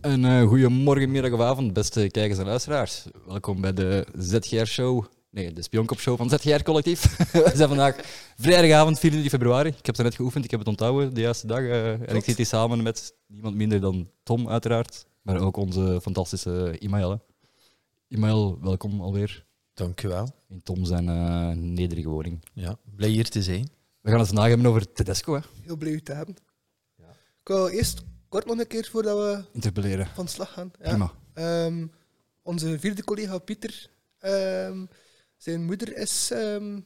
Een eh, goeiemorgen, goedemorgen, middag of avond, beste kijkers en luisteraars. Welkom bij de ZGR-show. Nee, de Spionkop-show van ZGR Collectief. We zijn vandaag vrijdagavond, 24 februari. Ik heb het net geoefend, ik heb het onthouden de juiste dag. eh, en ik zit hier samen met niemand minder dan Tom, uiteraard. Maar ook onze fantastische Imael. hè. Imael, welkom alweer Dankjewel. in Tom zijn eh, nederige woning. Ja, blij hier te zijn. We gaan het vandaag hebben over Tedesco, hè. Heel blij u te hebben. Ik wil eerst kort nog een keer voordat we Interpelleren. van slag gaan. Ja. Prima. Ehm, onze vierde collega Pieter, ehm, zijn moeder is ehm,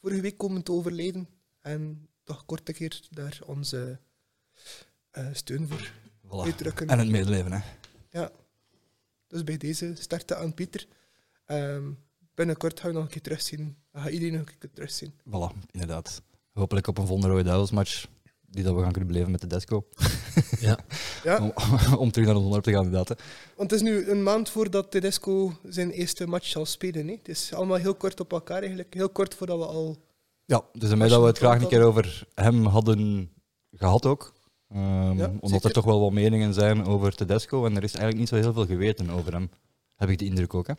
vorige week komen te overlijden. En toch kort een keer daar onze eh, steun voor Voilà. uitdrukken. En het medeleven, hè. Dus bij deze starten aan Pieter. Ehm, binnenkort gaan we nog een keer terugzien. Dan gaat iedereen nog een keer terugzien. Voilà, inderdaad. Hopelijk op een volgende Rode Duivels match. Die dat we gaan kunnen beleven met de Desco. Ja. Ja. Om, om terug naar ons onderwerp te gaan, inderdaad. hè. Want het is nu een maand voordat Tedesco zijn eerste match zal spelen. Hè? Het is allemaal heel kort op elkaar eigenlijk. Heel kort voordat we al... Ja, dus daarmee dat we het graag een keer over hem hadden gehad ook. Ehm, Ja, omdat zeker. er toch wel wat meningen zijn over Tedesco. En er is eigenlijk niet zo heel veel geweten over hem. Heb ik de indruk ook, hè?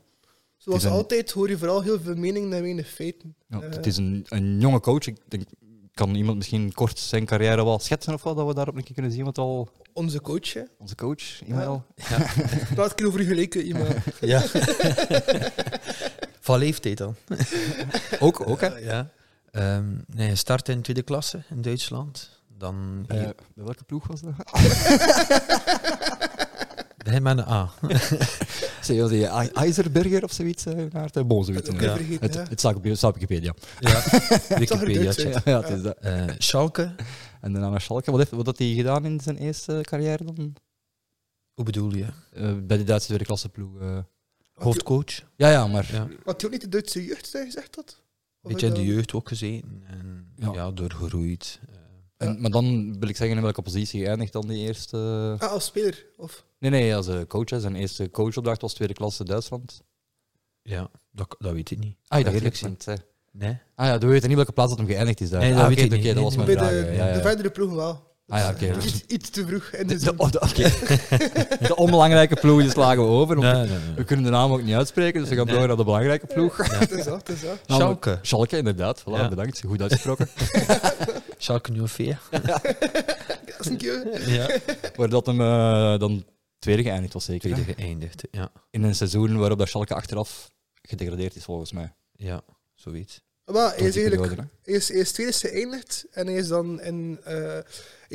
Zoals Het is een- altijd hoor je vooral heel veel meningen en weinig feiten. Ja, Eh, het is een, een jonge coach. Ik denk, kan iemand misschien kort zijn carrière wel schetsen of wat? Dat we daarop een keer kunnen zien. Want al Onze coach. hè. onze coach, e-mail. Laat ik over vergelijken, iemand. Ja. Van leeftijd dan. Eh, Ook, ook, hè? Ja. Ehm, nee, hij start in tweede klasse in Duitsland. Dan Eh, bij welke ploeg was dat? begin met een A. Ze wilde je I- IJzerberger of zoiets eh, naar het bon, zoiets. Dat Het, kun je Ja. vergeten. het, hè. het staat op je- staat op Wikipedia. Ja. Wikipedia. Wikipedia. Eh, Duits uit. Ja, ja, het is dat. Schalke, En daarna naar Schalke. Wat heeft wat had hij gedaan in zijn eerste carrière dan? hoe bedoel je? Eh, bij de Duitse tweede klasse ploeg. eh. Had je- Hoofdcoach. Ja, ja, maar Ja. Had je ook niet de Duitse jeugd dat je gezegd had? Of Beetje in had de je dan- jeugd ook gezeten. En Ja. ja, doorgeroeid. Eh, En, maar dan wil ik zeggen in welke positie eindigt dan die eerste... Ah, als speler. Of... Nee, nee, als eh, coach. Hè. Zijn eerste coachopdracht was tweede klasse Duitsland. ja, dat, dat weet ik niet. Ah, ik Dat dacht eerlijk eerlijk zijn. zijn. Nee. Ah ja, we weten niet welke plaats dat hem geëindigd is daar. Nee, dat ah, weet oké, ik niet. oké, dat was Nee, mijn Bij vraag. ja, de, ja, ja. de verdere ploegen wel. Ah ja, oké. dus- Iets, iets te vroeg. En De, dus de, oh, de- oké. de onbelangrijke ploeg die slagen we over. om- Nee, nee, nee. We kunnen de naam ook niet uitspreken, dus we gaan Nee. door naar de belangrijke ploeg. het is dat, het is dat. Namelijk- Schalke. Schalke, inderdaad. Voilà, Ja. bedankt. Goed uitgesproken. Schalke 04. Dat is een keer. Ja. Waar dat hem eh, dan tweede geëindigd was, zeker. hè? Tweede geëindigd. Ja. In een seizoen waarop dat Schalke achteraf gedegradeerd is, volgens mij. Ja, zoiets. Maar hij Door is die eigenlijk... periode, hè. Hij is, hij is tweede geëindigd en hij is dan in, eh, hij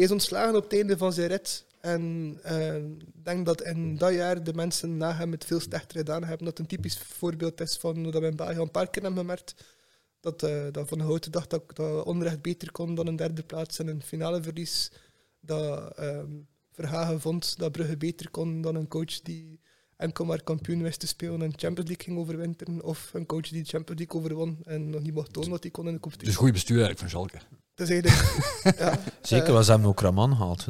is ontslagen op het einde van zijn rit. En eh, ik denk dat in dat jaar de mensen na hem het veel slechter gedaan hebben. Dat een typisch voorbeeld is van hoe dat we in België al een paar keer hebben gemerkt. Dat, eh, dat Van Houten dacht dat, dat onrecht beter kon dan een derde plaats en een finale verlies. Dat ehm, Verhagen vond dat Brugge beter kon dan een coach die enkel maar kampioen wist te spelen en Champions League ging overwinteren. Of een coach die de Champions League overwon en nog niet mocht tonen dat hij kon in de competitie. Dus goed bestuur eigenlijk van Schalke. Dat is eigenlijk. ja, Zeker Eh. was hem ook Raman Eh, haalt.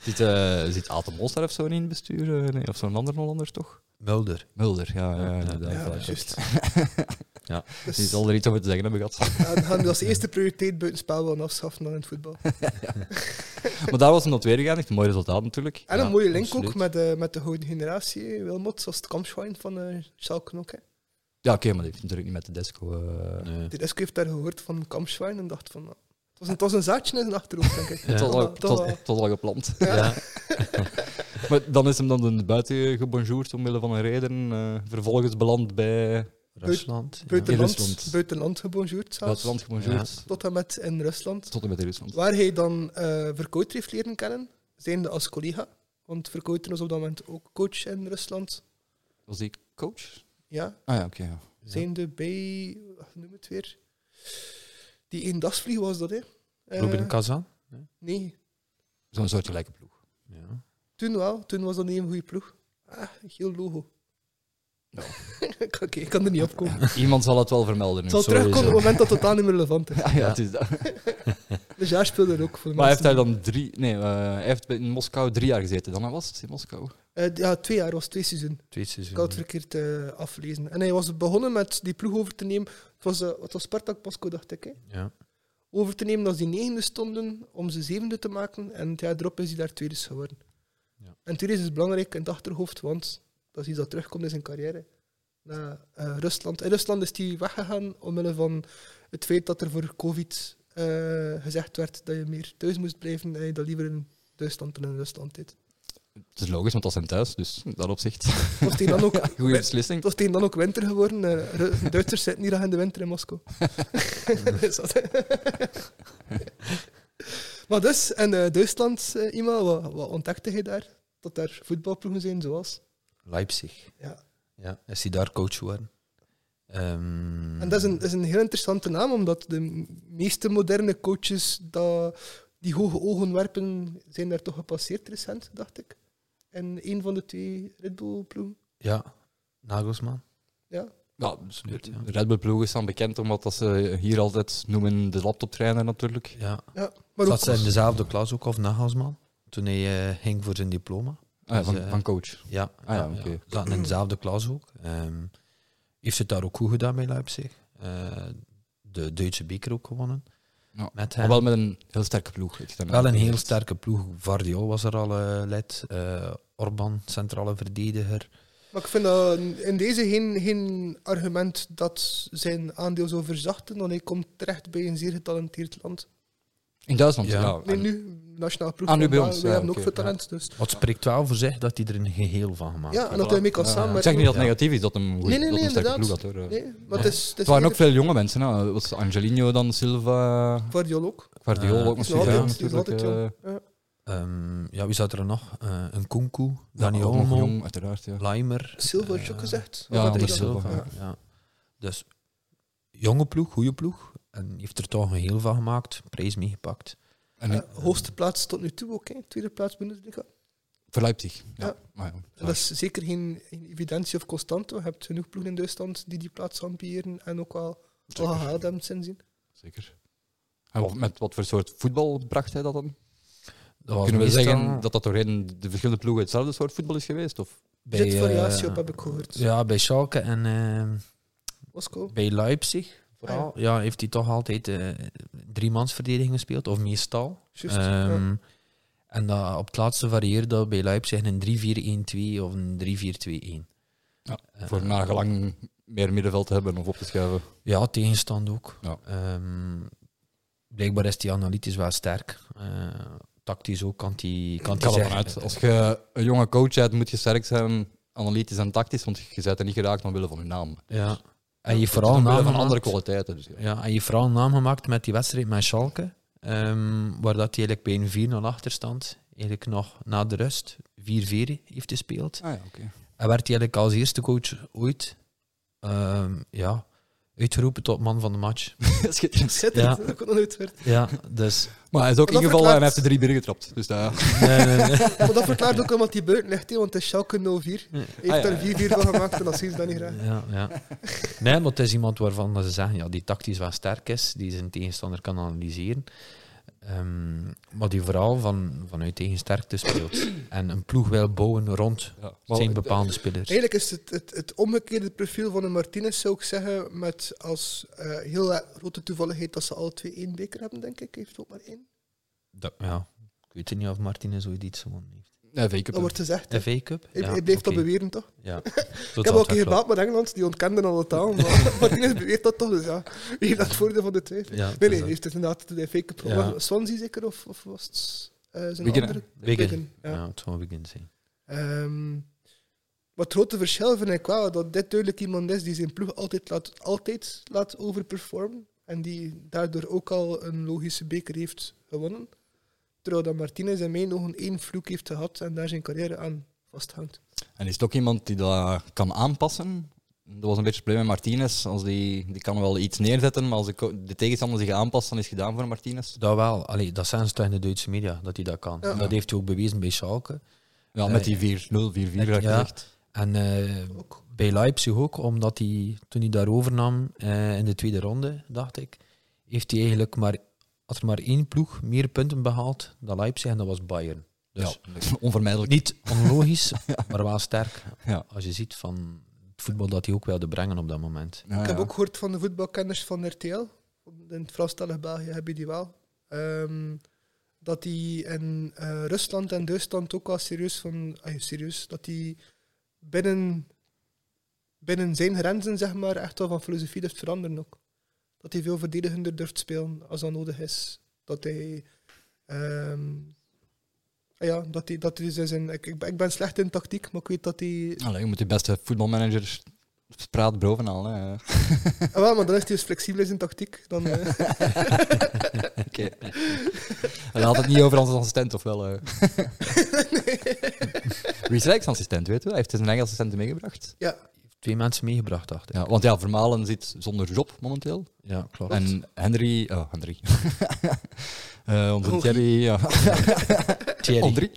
Zit, eh zit Aten Molstar of zo niet in het bestuur? eh, nee, of zo'n ander Hollander toch? Mulder. Mulder, ja, ja, Ja, inderdaad. ja, Ja, juist. Ja. Dus, Die zal er iets over te zeggen hebben gehad. ja, dan gaan we als eerste prioriteit buitenspel wel afschaffen dan in het voetbal. maar daar was hem dan tweede geëindigd. Mooi resultaat natuurlijk. En Ja, een mooie link ook absoluut. met, eh, met de gouden generatie. eh, Wilmot, zoals het kampschwein van eh Schalke ook. Hè. Ja, oké, maar die heeft natuurlijk niet met de desco... eh, Nee. Die Desco heeft daar gehoord van kampschwein en dacht van... nou, het, was een, het was een zaadje in zijn achterhoofd, denk ik. Ja. Het was al, Toch het wel- was- toch wel. het was al gepland. Ja. Maar dan is hem dan de buiten gebonjourd omwille van een reden. eh, vervolgens beland bij Rusland. Ja. In Buitenland, Rusland. buitenland gebonjourd zelfs. Duitsland gebonjourd. Tot en met in Rusland. Tot en met Rusland. Waar hij dan eh Verkouter heeft leren kennen, zijnde als collega. Want Verkouter was op dat moment ook coach in Rusland. Was die coach? Ja, Ah ja, oké. ja. zijn de bij, ach, noem het weer. Die eendagsvlieg was dat, hè? Eh, Ruben Kazan. nee, Zo'n soort gelijke ploeg. Ja. toen wel. Toen was dat niet een goede ploeg. Ah, heel logo. Ja. Oké, ik kan er niet op komen. Iemand zal het wel vermelden nu. Het zal sowieso. terugkomen op het moment dat het totaal niet meer relevant is. Ja, ja, het is dat. Dus ja, speelde er ook voor Maar heeft mensen hij dan drie... Nee, eh, hij heeft in Moskou drie jaar gezeten. Dan was het in Moskou. die- Eh, ja, twee jaar was twee seizoen. Twee Ik had het seizoenen. verkeerd eh, aflezen. En hij was begonnen met die ploeg over te nemen. Het was, eh, het was Spartak Pasco, dacht ik. Hè? Ja. over te nemen als die negende stonden, om ze zevende te maken. En het jaar erop is hij daar tweede geworden. Ja. En tweede is dus belangrijk in het achterhoofd, want dat is iets dat terugkomt in zijn carrière. Na eh, Rusland. In Rusland is hij weggegaan omwille van het feit dat er voor COVID eh, gezegd werd dat je meer thuis moest blijven en je dat liever in Duitsland dan in Rusland deed. Het is logisch, want dat zijn thuis, dus in dat opzicht. Het was tegen dan ook, Goede het beslissing. was tegen dan ook winter geworden. eh, Ru- Duitsers zitten hier aan in de winter in Moskou. Dus dat- maar dus, in eh, Duitsland, eh, Ima, wat, wat ontdekte je daar? Dat er voetbalploegen zijn zoals. Leipzig. Ja. Ja, is hij daar coach geworden. Ehm, En dat is een, is een heel interessante naam, omdat de m- meeste moderne coaches dat, die hoge ogen werpen, zijn daar toch gepasseerd recent, dacht ik. En een van de twee Red Bull-ploegen. Ja, Nagelsman. Ja. Ja, Absoluut, ja. Red Bull ploeg is dan bekend omdat dat ze hier altijd noemen de laptoptrainer natuurlijk. Ja. ja. Maar ook Zat ze in dezelfde klas ook, of Nagelsman, toen hij eh, ging voor zijn diploma. Ah, van, Dus, eh, van coach. Ja, Ah ja, oké. zaten in dezelfde klas ook. Ehm, heeft het daar ook goed gedaan bij Leipzig. Eh, de Duitse beker ook gewonnen. Ja. Met Maar hem. wel met een heel sterke ploeg. heeft hij dan Wel een heel uitgelegd. sterke ploeg. Vardio was er al eh, lid. eh, Orban, centrale verdediger. Maar ik vind dat in deze geen, geen argument dat zijn aandeel zou verzachten, want hij komt terecht bij een zeer getalenteerd land. In Duitsland, Ja. ja. Nee, nu, nationaal ploeg. Ah, nu want bij daar- ons, Wij ja, hebben ook oké, veel talent, dus. Wat spreekt wel voor zich dat hij er een geheel van gemaakt Ja, en dat hij mee kan Ja, ja. Ik samenwerken. zeg niet dat het Ja. negatief is dat hem goed, Nee, nee, dat nee, hem een sterke inderdaad. ploeg had. Hoor. Nee, maar het is... Het is Het waren ook eerder- veel jonge mensen. Nou. Dat was Angelino, dan Silva, Guardiola ook. Guardiola Eh, ook is nog altijd- ja, is natuurlijk. altijd eh, jong. Ehm, ja, wie zat er nog? Eh, een Kunku, ja, Dani ook nog Olmo, jong, uiteraard. Ja. Leimer. Silva eh, heeft ook gezegd. ja, Of had hij Anders dat- Silva. ja. Ja. Dus jonge ploeg, goede ploeg. En heeft er toch een heel van gemaakt, prijs meegepakt. En Eh, hoogste plaats tot nu toe ook, hè. tweede plaats Bundesliga. voor Leipzig. Ja. Ja. Maar ja, En dat is zeker geen, geen evidentie of constante. Je hebt genoeg ploegen in Duitsland die die plaats ambiëren en ook wel al zeker, gehaald hebben sindsdien. zeker. En wat- met wat voor soort voetbal bracht hij dat dan? Dat was Kunnen we meestal zeggen dat dat doorheen de verschillende ploegen hetzelfde soort voetbal is geweest? Of? bij, Zit variatie eh, op, heb ik gehoord. Ja, bij Schalke en eh, Moskou. bij Leipzig Ah, vooral. ja. heeft hij toch altijd eh driemansverdediging gespeeld, of meestal. Juist, Ehm, ja. En dat, op het laatste varieerde dat bij Leipzig een 3-4-1-2 of een 3-4-2-1. Ja, Eh, Voor naar gelang meer middenveld te hebben of op te schuiven. Ja, tegenstand ook. Ja. Ehm, blijkbaar is die analytisch wel sterk. Eh, tactisch ook kan die kan Ik die ga ervan zeggen- uit. Als je een jonge coach hebt, moet je sterk zijn, analytisch en tactisch, want je bent er niet geraakt omwille van je naam. Ja. En je Dus vooral omwille naam van andere gemaakt- kwaliteiten. Dus ja. Ja, en je vooral een naam gemaakt met die wedstrijd met Schalke. ehm, waar dat hij eigenlijk bij een 4-0 achterstand, eigenlijk nog na de rust, 4-4 heeft gespeeld. Ah ja, oké. En werd hij eigenlijk als eerste coach ooit ehm, ja, uitgeroepen tot man van de match. Schitterend. Schitterend, Ja. dat kon nog nooit werd. Ja, dus... Maar hij is ook Maar dat ingevallen en hij verklaart- heeft de drie binnen getrapt. Dus dat, Nee, nee, nee. Maar dat verklaart ook omdat hij buiten ligt, hè, want het is Schalke 04. Hij heeft Ah, ja, daar 4-4 van gemaakt en dat zien ze dan niet graag. Ja, ja. Nee, maar het is iemand waarvan dat ze zeggen ja, die tactisch wel sterk is, die zijn tegenstander kan analyseren. Ehm, maar die vooral van, vanuit eigen sterkte speelt. En een ploeg wil bouwen rond ja. eh, zijn bepaalde spelers. Eigenlijk is het, het het omgekeerde profiel van een Martinez, zou ik zeggen, met als eh, heel grote toevalligheid dat ze alle twee één beker hebben, denk ik. Heeft ook maar één. Dat- ja. Ik weet niet of Martinez ooit iets gewonnen heeft. eh, Nee, fake Dat wordt gezegd. hè. De V-Cup? Hij, Ja, hij blijft oké. dat beweren, toch? Ja. ik heb ook een keer gebaat met Engeland, die ontkenden al de taal, maar Martinez beweert dat toch, dus ja. Wie heeft dat het voordeel van de twijfel? Ja, Nee, dus nee, dat- heeft het inderdaad de fake Ja. ja. Swansea zeker, of, of was het eh, zijn Wigan, andere? Wigan. ja. Ja, het zou Wigan zijn. Ehm, maar het grote verschil vind ik wel dat dit duidelijk iemand is die zijn ploeg altijd laat, altijd laat overperformen. En die daardoor ook al een logische beker heeft gewonnen. Terwijl dat Martinez in mijn ogen één vloek heeft gehad en daar zijn carrière aan vasthangt. En is het ook iemand die dat kan aanpassen? Dat was een beetje het probleem met Martinez. Als die, die kan wel iets neerzetten, maar als de, co- de tegenstander zich aanpast, dan is het gedaan voor Martinez. Dat wel. Allee, dat zijn ze toch in de Duitse media, dat hij dat kan. Ja. En Dat heeft hij ook bewezen bij Schalke. Ja, met die 4-0, 4-4 had ik Ja. gezegd. En eh, bij Leipzig ook, omdat hij toen hij daar overnam eh, in de tweede ronde, dacht ik, heeft hij eigenlijk maar, had er maar één ploeg meer punten behaald dan Leipzig en dat was Bayern. Dus Ja, onvermijdelijk. niet onlogisch, maar wel sterk. Ja. Als je ziet van het voetbal dat hij ook wilde brengen op dat moment. Ja, Ik heb ja. ook gehoord van de voetbalkenners van RTL, van in het Franstalig België heb je die wel. Ehm, dat die in eh, Rusland en Duitsland ook wel serieus van... ah, serieus, dat die binnen, binnen zijn grenzen, zeg maar, echt wel van filosofie durft veranderen ook. Dat hij veel verdedigender durft spelen als dat nodig is. Dat hij... ehm, ah ja, dat hij, dat hij dus in, ik, ik ben- ik ben slecht in tactiek, maar ik weet dat hij Allee, je moet je beste voetbalmanager praat bovenal. Hè. Oké. Ah, wel, maar dan is hij dus flexibel in zijn tactiek. Dan, eh, Hij had het niet over als assistent, of wel? eh? Wie is Rijks assistent, weet je wel? Hij heeft zijn eigen assistent meegebracht. ja, Twee mensen meegebracht, dacht ik. Ja, want ja, Vermalen zit zonder job momenteel. Ja, klopt. En Henry... Oh, Henry. Eh onze Rogie. Thierry... Ja. Thierry. Ondrie.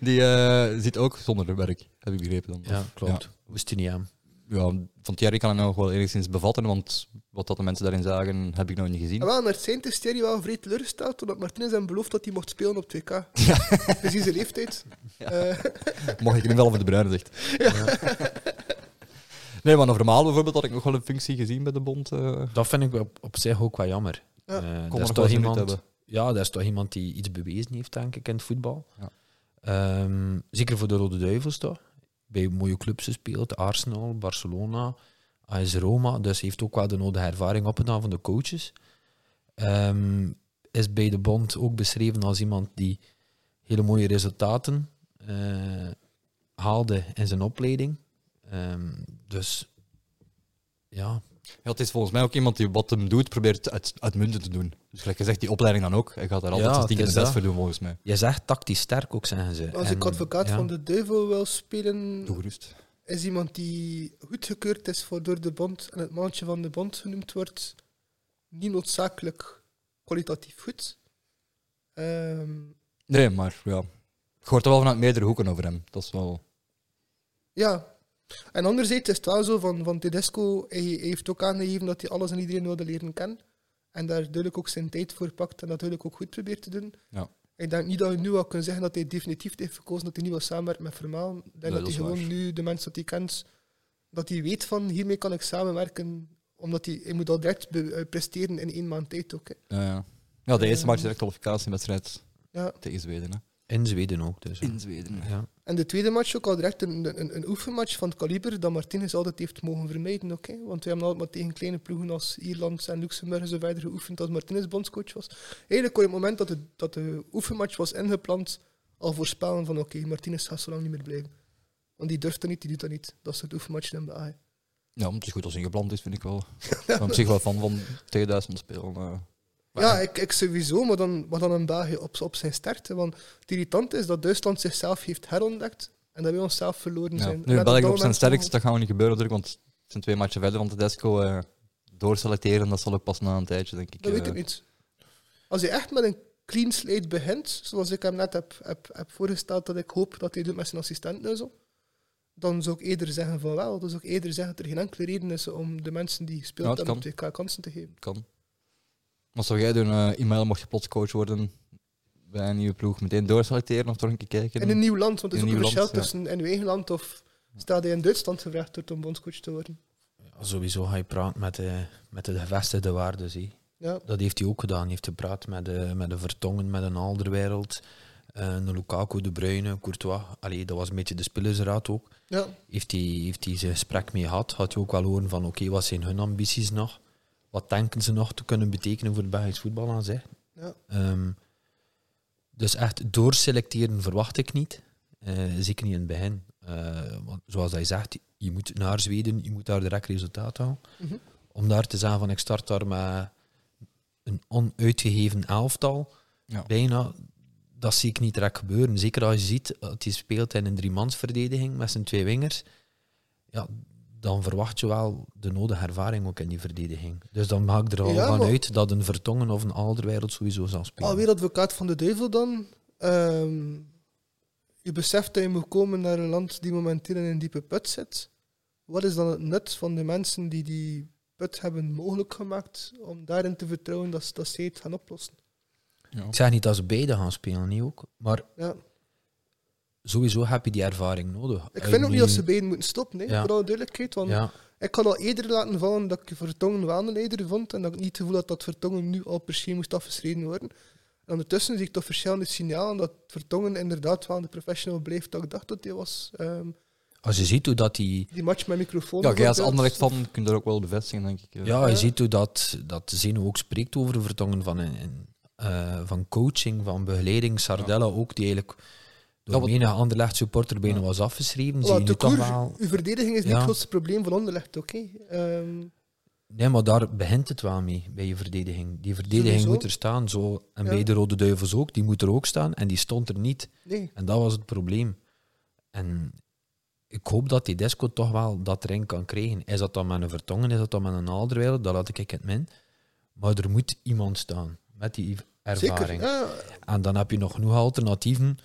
Die eh, zit ook zonder werk, heb ik begrepen dan. Ja, klopt. Wist hij niet aan. Ja, van Thierry kan ik nog wel enigszins bevatten, want wat dat de mensen daarin zagen, heb ik nog niet gezien. Ah, wel, naar het zijn is Thierry wel vrij teleurgesteld, omdat Martinez hem beloofd dat hij mocht spelen op 2K. Precies zijn leeftijd. Eh, Mocht ik hem wel van de bruine zegt. Nee, maar een vermaal bijvoorbeeld had ik nog wel een functie gezien bij de bond. eh. Dat vind ik op, op zich ook wel jammer. Ja, Eh, nog dat is wel toch eens iemand, minuut hebben. Ja, dat is toch iemand die iets bewezen heeft, denk ik, in het voetbal. Ja. Ehm, zeker voor de Rode Duivels toch. Bij mooie clubs gespeeld, Arsenal, Barcelona, AS Roma. Dus heeft ook wel de nodige ervaring opgedaan van de coaches. Ehm, is bij de bond ook beschreven als iemand die hele mooie resultaten eh, haalde in zijn opleiding. Ehm, dus ja, Ja, het is volgens mij ook iemand die wat hem doet, probeert het uit, uitmuntend te doen. Dus gelijk gezegd, die opleiding dan ook. Hij gaat daar altijd Ja, zijn het stinkende is best dat. voor doen, volgens mij. Je zegt tactisch sterk ook, zeggen ze. als En, ik advocaat ja, van de duivel wil spelen, Doe gerust. is iemand die goedgekeurd is voor door de bond en het maandje van de bond genoemd wordt, niet noodzakelijk kwalitatief goed. Ehm, Nee, maar ja. Je hoort er wel vanuit meerdere hoeken over hem. Dat is wel... Ja. En anderzijds is het wel zo van, van Tedesco, hij, hij heeft ook aangegeven dat hij alles en iedereen wilde leren kennen. En daar duidelijk ook zijn tijd voor pakt en dat duidelijk ook goed probeert te doen. Ja. Ik denk niet dat je nu al kunt zeggen dat hij definitief heeft gekozen dat hij niet wil samenwerken met Vermaal. Ik denk dat, dat hij is gewoon waar. nu de mensen dat hij kent, dat hij weet van hiermee kan ik samenwerken. Omdat hij, hij moet al direct be- eh, presteren in één maand tijd ook. hè. Ja, ja. ja, de eerste Ehm. match direct kwalificatiewedstrijd Ja. tegen Zweden. Hè. In Zweden ook. Dus, ja. Zweden. Ja. En de tweede match ook al direct een, een, een oefenmatch van het kaliber dat Martinez altijd heeft mogen vermijden. oké? Want we hebben altijd maar tegen kleine ploegen als Ierland en Luxemburg en zo verder geoefend als Martinez bondscoach was. Eigenlijk kon je op het moment dat de, dat de oefenmatch was ingepland al voorspellen van oké, Martinez gaat zo lang niet meer blijven. Want die durft dat niet, die doet dat niet. Dat soort oefenmatchen in de AI. Ja, het is goed als ingepland is, vind ik wel. Ik ben op zich wel fan van tegen Duitsland spelen. eh. Ja, ik, ik sowieso, maar dan, maar dan een België op, op zijn sterkte. Want het irritant is dat Duitsland zichzelf heeft herontdekt en dat wij onszelf verloren Ja. zijn. Nu, België Net dat op zijn moment- sterkst, dat gaan we niet gebeuren natuurlijk, want het zijn twee matchen verder van Tedesco. eh doorselecteren, dat zal ook pas na een tijdje, denk ik. Dat weet eh, ik niet. Als je echt met een clean slate begint, zoals ik hem net heb, heb, heb voorgesteld dat ik hoop dat hij doet met zijn assistent en zo, dan zou ik eerder zeggen van wel. Dan zou ik eerder zeggen dat er geen enkele reden is om de mensen die gespeeld Ja, het hebben op 2K kansen te geven. Kan. Wat zou jij doen, eh e-mail, mocht je plots coach worden bij een nieuwe ploeg? Meteen doorselecteren of toch een keer kijken? In een nieuw land, want er is in ook een een nieuw land, verschil ja. tussen in uw eigen land of staat hij in Duitsland gevraagd wordt om bondscoach te worden. Ja, Sowieso ga je praten met de, met de gevestigde waarden. Zie. Ja. Dat heeft hij ook gedaan. Hij heeft gepraat met de, met de Vertongen, met een Alderwereld, eh, een Lukaku, De Bruyne, Courtois. Allee, dat was een beetje de spelersraad ook. Ja. Heeft hij, heeft hij zijn gesprek mee gehad? Had je ook wel horen van, oké, wat zijn hun ambities nog? Wat denken ze nog te kunnen betekenen voor het Belgisch voetbal aan zich? Ja. Ehm, dus echt doorselecteren verwacht ik niet. Eh, zeker niet in het begin. Eh, want zoals hij zegt, je moet naar Zweden, je moet daar direct resultaat halen. Mhm. Om daar te zeggen van ik start daar met een onuitgegeven elftal, Ja. bijna, dat zie ik niet direct gebeuren. Zeker als je ziet eh, dat hij speelt in een driemansverdediging met zijn twee wingers, ja, dan verwacht je wel de nodige ervaring ook in die verdediging. Dus dan maak ik er al Ja, van maar- uit dat een Vertongen of een Alderwereld sowieso zal spelen. Alweer advocaat van de duivel dan. Ehm, je beseft dat je moet komen naar een land die momenteel in een diepe put zit. Wat is dan het nut van de mensen die die put hebben mogelijk gemaakt om daarin te vertrouwen dat, ze- dat zij het gaan oplossen? Ja. Ik zeg niet dat ze beide gaan spelen, niet ook. Maar Ja, sowieso heb je die ervaring nodig. Ik vind ook niet dat ze bij moeten stoppen, hè. Ja. vooral duidelijkheid. Want Ja, ik had al eerder laten vallen dat ik Vertongen wel een leider vond en dat ik niet het gevoel had dat Vertongen nu al per se moest afgeschreven worden. En ondertussen zie ik toch verschillende signalen dat Vertongen inderdaad wel de professional bleef dat ik dacht dat hij was. Ehm, als je ziet hoe dat die... die match met microfoon. Ja, jij als bijvoorbeeld. Anderlecht van kun je dat ook wel bevestigen, denk ik. eh. Ja, je Ja. ziet hoe dat, dat Zeno ook spreekt over de vertongen van, een- een, eh, van coaching, van begeleiding. Sardella ook, die eigenlijk door Ja, wat- menige Anderlecht supporter bijna Ja. was afgeschreven. Ja, Zie je nu de toch koers- wel... Uw verdediging is niet Ja. het grootste probleem van Anderlecht, oké? Ehm, Nee, maar daar begint het wel mee, bij je verdediging. Die verdediging Sowieso. moet er staan. Zo, en Ja. bij de Rode Duivels ook, die moet er ook staan. En die stond er niet. nee. En dat was het probleem. En ik hoop dat die disco toch wel dat erin kan krijgen. Is dat dan met een vertongen, is dat dan met een alderwijl, dat laat ik in het min. Maar er moet iemand staan met die ervaring. Zeker. Ah, Ja, En dan heb je nog genoeg alternatieven.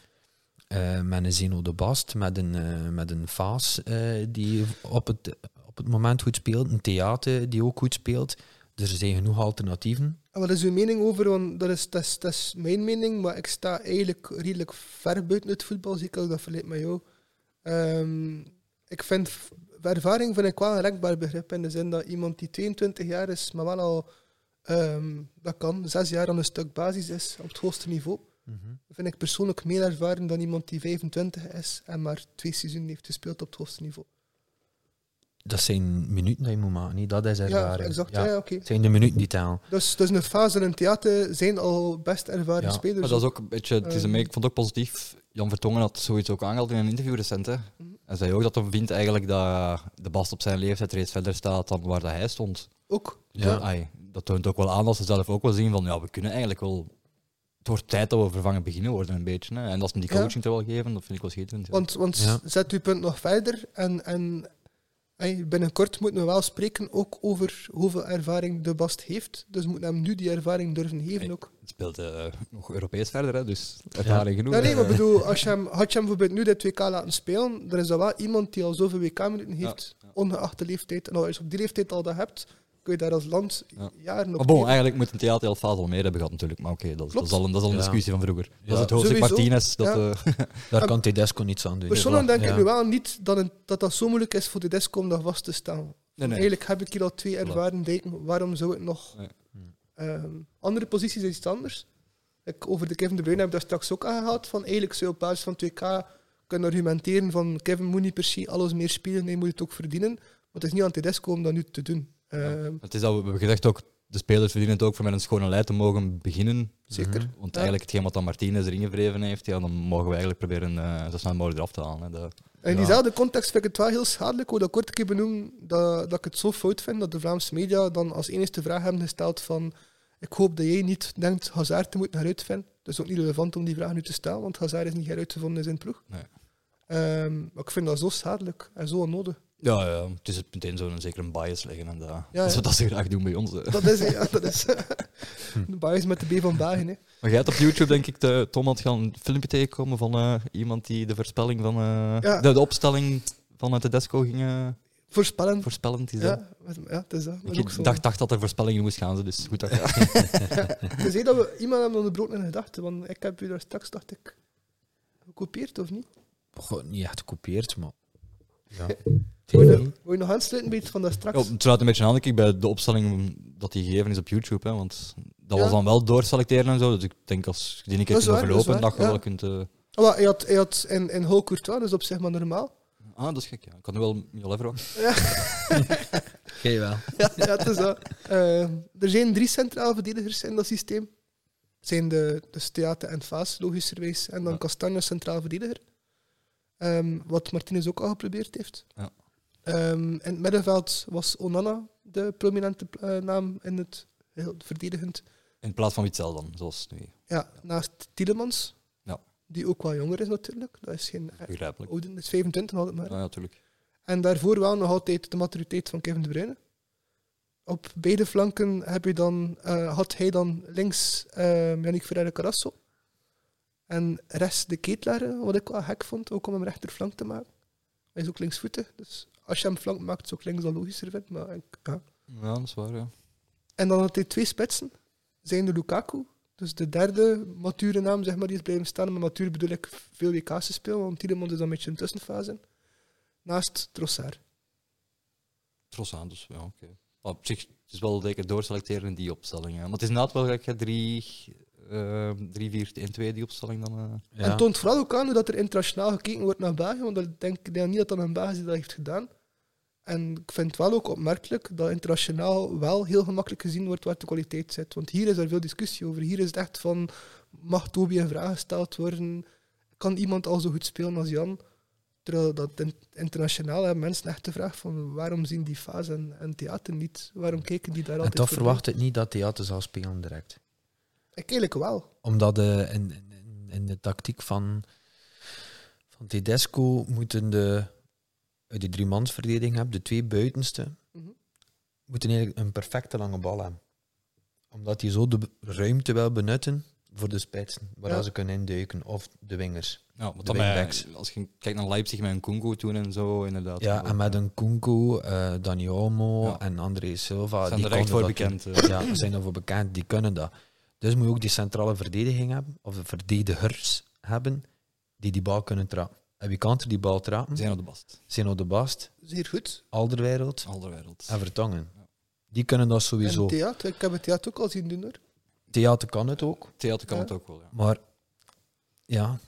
eh, met een Zeno de Bast, met een, eh, met een Vaas eh, die op het, op het moment goed speelt, een Theater die ook goed speelt. Dus er zijn genoeg alternatieven. En wat is uw mening over? Want dat is, dat, is, dat is mijn mening, maar ik sta eigenlijk redelijk ver buiten het voetbal, zeker als ik dat verleid met jou. Ehm, ik vind v- ervaring vind ik wel een rekbaar begrip in de zin dat iemand die 22 jaar is, maar wel al ehm, dat kan, zes jaar aan een stuk basis is op het hoogste niveau, vind ik persoonlijk meer ervaren dan iemand die 25 is en maar twee seizoenen heeft gespeeld op het hoogste niveau. Dat zijn minuten dat je moet maken, niet? dat is ervaring. Ja, exact. Ja. Ja. ja, oké. Het zijn de minuten die tellen. Dus, dus een fase in een theater zijn al best ervaren Ja, spelers. Maar dat is ook een beetje, het is een, Ehm. ik vond het ook positief. Jan Vertongen had zoiets ook aangehaald in een interview recent. Hè. Mhm. En zei ook dat hij vindt eigenlijk dat de Bast op zijn leeftijd reeds verder staat dan waar dat hij stond. ook. Dus Ja. dat- ai, dat toont ook wel aan dat ze zelf ook wel zien van ja, we kunnen eigenlijk wel. Het wordt tijd dat we vervangen beginnen worden een beetje. Hè. En als ze die Ja. coaching er wel geven, dat vind ik wel schitterend. ja. Want, want Ja. zet uw punt nog verder. En, en hey, binnenkort moeten we wel spreken ook over hoeveel ervaring de Bast heeft. Dus we moeten hem nu die ervaring durven geven Hey. ook. Het speelt eh, nog Europees verder, hè, dus ervaring genoeg. Ja, nee, hè. maar ik bedoel, als je hem, had je hem bijvoorbeeld nu dit WK laten spelen, dan is dat wel iemand die al zoveel WK-minuten heeft, ongeacht de leeftijd. En als je op die leeftijd al dat hebt, kun je daar als land Ja. jaren op Maar bon, leven. eigenlijk moet een theater heel faal al meer hebben gehad natuurlijk. Maar oké, dat, dat is Klopt. al een, dat is al een Ja. discussie van vroeger. Dat Ja. is het hoofdstuk Sowieso. Martinez. Dat, Ja. eh, Daar En- kan Tedesco niets aan doen. Ah, Persoonlijk denk Ja. ik nu wel niet dat, een- dat dat zo moeilijk is voor de desk om daar vast te staan. nee, nee. Eigenlijk heb ik hier al twee ervaren dijken. Waarom zou het nog? Nee. Ehm, andere posities is iets anders. Ik, over de Kevin De Bruyne heb ik daar straks ook aangehaald. Van eigenlijk zou je op basis van 2K kunnen argumenteren van Kevin moet niet per se alles meer spelen, nee, moet het ook verdienen. Maar het is niet aan Tedesco om dat nu te doen. Ehm, Het is al, we hebben gezegd ook, de spelers verdienen het ook voor met een schone lei te mogen beginnen. Zeker. Want eigenlijk hetgeen wat dan Martinez erin gevreven heeft, ja, dan mogen we eigenlijk proberen eh, zo snel mogelijk eraf te halen. Hè. Dat, En in Ja. diezelfde context vind ik het wel heel schadelijk, hoe dat kort een keer benoem, dat, dat ik het zo fout vind dat de Vlaamse media dan als enige vraag hebben gesteld van ik hoop dat jij niet denkt Hazard te moeten heruitvinden. Het is ook niet relevant om die vraag nu te stellen, want Hazard is niet heruitgevonden in zijn ploeg. Nee. Ehm, maar ik vind dat zo schadelijk en zo onnodig. ja, ja, het is het meteen zo'n zeker een bias leggen. En dat, ja. dat is wat ze graag doen bij ons. hè. Dat is, ja, dat is de bias met de B van Bagen. Hè. Maar jij hebt op YouTube, denk ik, de, Tom had gaan een filmpje tegenkomen van eh, iemand die de voorspelling van... eh, Ja. de, de opstelling van het Tedesco ging eh, Voorspellen. voorspellen. die zei. Ja, ja, het is dat. Maar ook Ik zo. dacht, dacht dat er voorspellingen moest gaan, ze, dus goed dat Je zei dat we iemand hebben onderbroken in gedachten, want ik heb u daar straks, dacht ik, gekopieerd of niet? Goh, niet echt gekopieerd, maar. Ja. Wil je, wil je nog aansluiten bij iets van dat straks? Ja, het sluit een beetje aan denk ik, bij de opstelling dat die gegeven is op YouTube. Hè, want dat Ja. was dan wel doorselecteren en zo. Dus ik denk als je die een keer Dat is kunt waar, dat is overlopen, waar, dat je ja. wel kunt... eh, Ah, maar hij had, hij had in, in Hol Courtois, dus op zich maar normaal. Ah, dat is gek. Ja. Ik kan nu wel Miel Evero. Jij wel. Ja, ja het is dat. Eh, er zijn drie centrale verdedigers in dat systeem. Het zijn de, dus Theater en Vaas, logischerwijs. En dan Ja. Castanje als centraal verdediger. Ehm, wat Martinez ook al geprobeerd heeft. Ja. Ehm, in het middenveld was Onana de prominente eh, naam in het heel verdedigend. In plaats van Witzel dan, zoals nu. Ja, naast Tielemans, Ja. die ook wel jonger is natuurlijk. Dat is geen... eh, Begrijpelijk. Ouden is 25 altijd maar. Ja, natuurlijk. En daarvoor wel nog altijd de maturiteit van Kevin De Bruyne. Op beide flanken heb je dan, eh, had hij dan links eh Yannick Ferreira Carasso. En rechts de Ketelaar, wat ik wel gek vond, ook om hem rechterflank te maken. Hij is ook linksvoeten, dus als je hem flank maakt, is ook links al logischer vind. Maar ik, ja. Ja, dat is waar, ja. En dan had hij twee spitsen. Zijn de Lukaku, Dus de derde mature naam, zeg maar, die is blijven staan. Met matuur bedoel ik veel WK's gespeeld, want Tielemans is dan een beetje een tussenfase. Naast Trossard. Tros aan, dus ja, oké. Maar op zich, het is wel lekker doorselecteren in die opstelling. Ja. Maar het is na wel gelijk, hè, drie, eh, drie, vier, 1, 2, die opstelling dan. eh. Ja. En toont vooral ook aan hoe dat er internationaal gekeken wordt naar België, want ik denk, ik denk niet dat dat een België dat heeft gedaan. En ik vind het wel ook opmerkelijk dat internationaal wel heel gemakkelijk gezien wordt waar de kwaliteit zit. Want hier is er veel discussie over. Hier is het echt van, mag Toby in vraag gesteld worden? Kan iemand al zo goed spelen als Jan? Terwijl dat in- internationaal hebben mensen echt de vraag van, waarom zien die fase en, en theater niet? Waarom kijken die daar En altijd toch voorbij? verwacht ik niet dat theater zal spelen direct. Ik eigenlijk wel. Omdat eh, in, in, in de tactiek van, van Tedesco moeten de, uit de driemansverdediging hebben, de twee buitenste, Mhm. moeten eigenlijk een perfecte lange bal hebben. Omdat die zo de b- ruimte wel benutten voor de spitsen, waar Ja. ze kunnen induiken, of de wingers. Ja, want De dan bij- wingbacks. als je kijkt naar Leipzig met een Congo toen en zo, inderdaad. Ja, en met een Kunko, eh Dani Olmo Ja. en André Silva. zijn er konden echt voor dat bekend. eh. doen. Ja, zijn daarvoor bekend, die kunnen dat. Dus moet je ook die centrale verdediging hebben, of de verdedigers hebben, die die bal kunnen trappen. En wie kan er die bal trappen? Zijn op de bast. Zeno de Bast, Zeer goed. Alderwereld Alderwereld. en Vertongen. Die kunnen dat sowieso. En theater, ik heb het theater ook al zien doen hoor. Theater kan het ook, Theater kan Ja. het ook wel, ja. maar ja,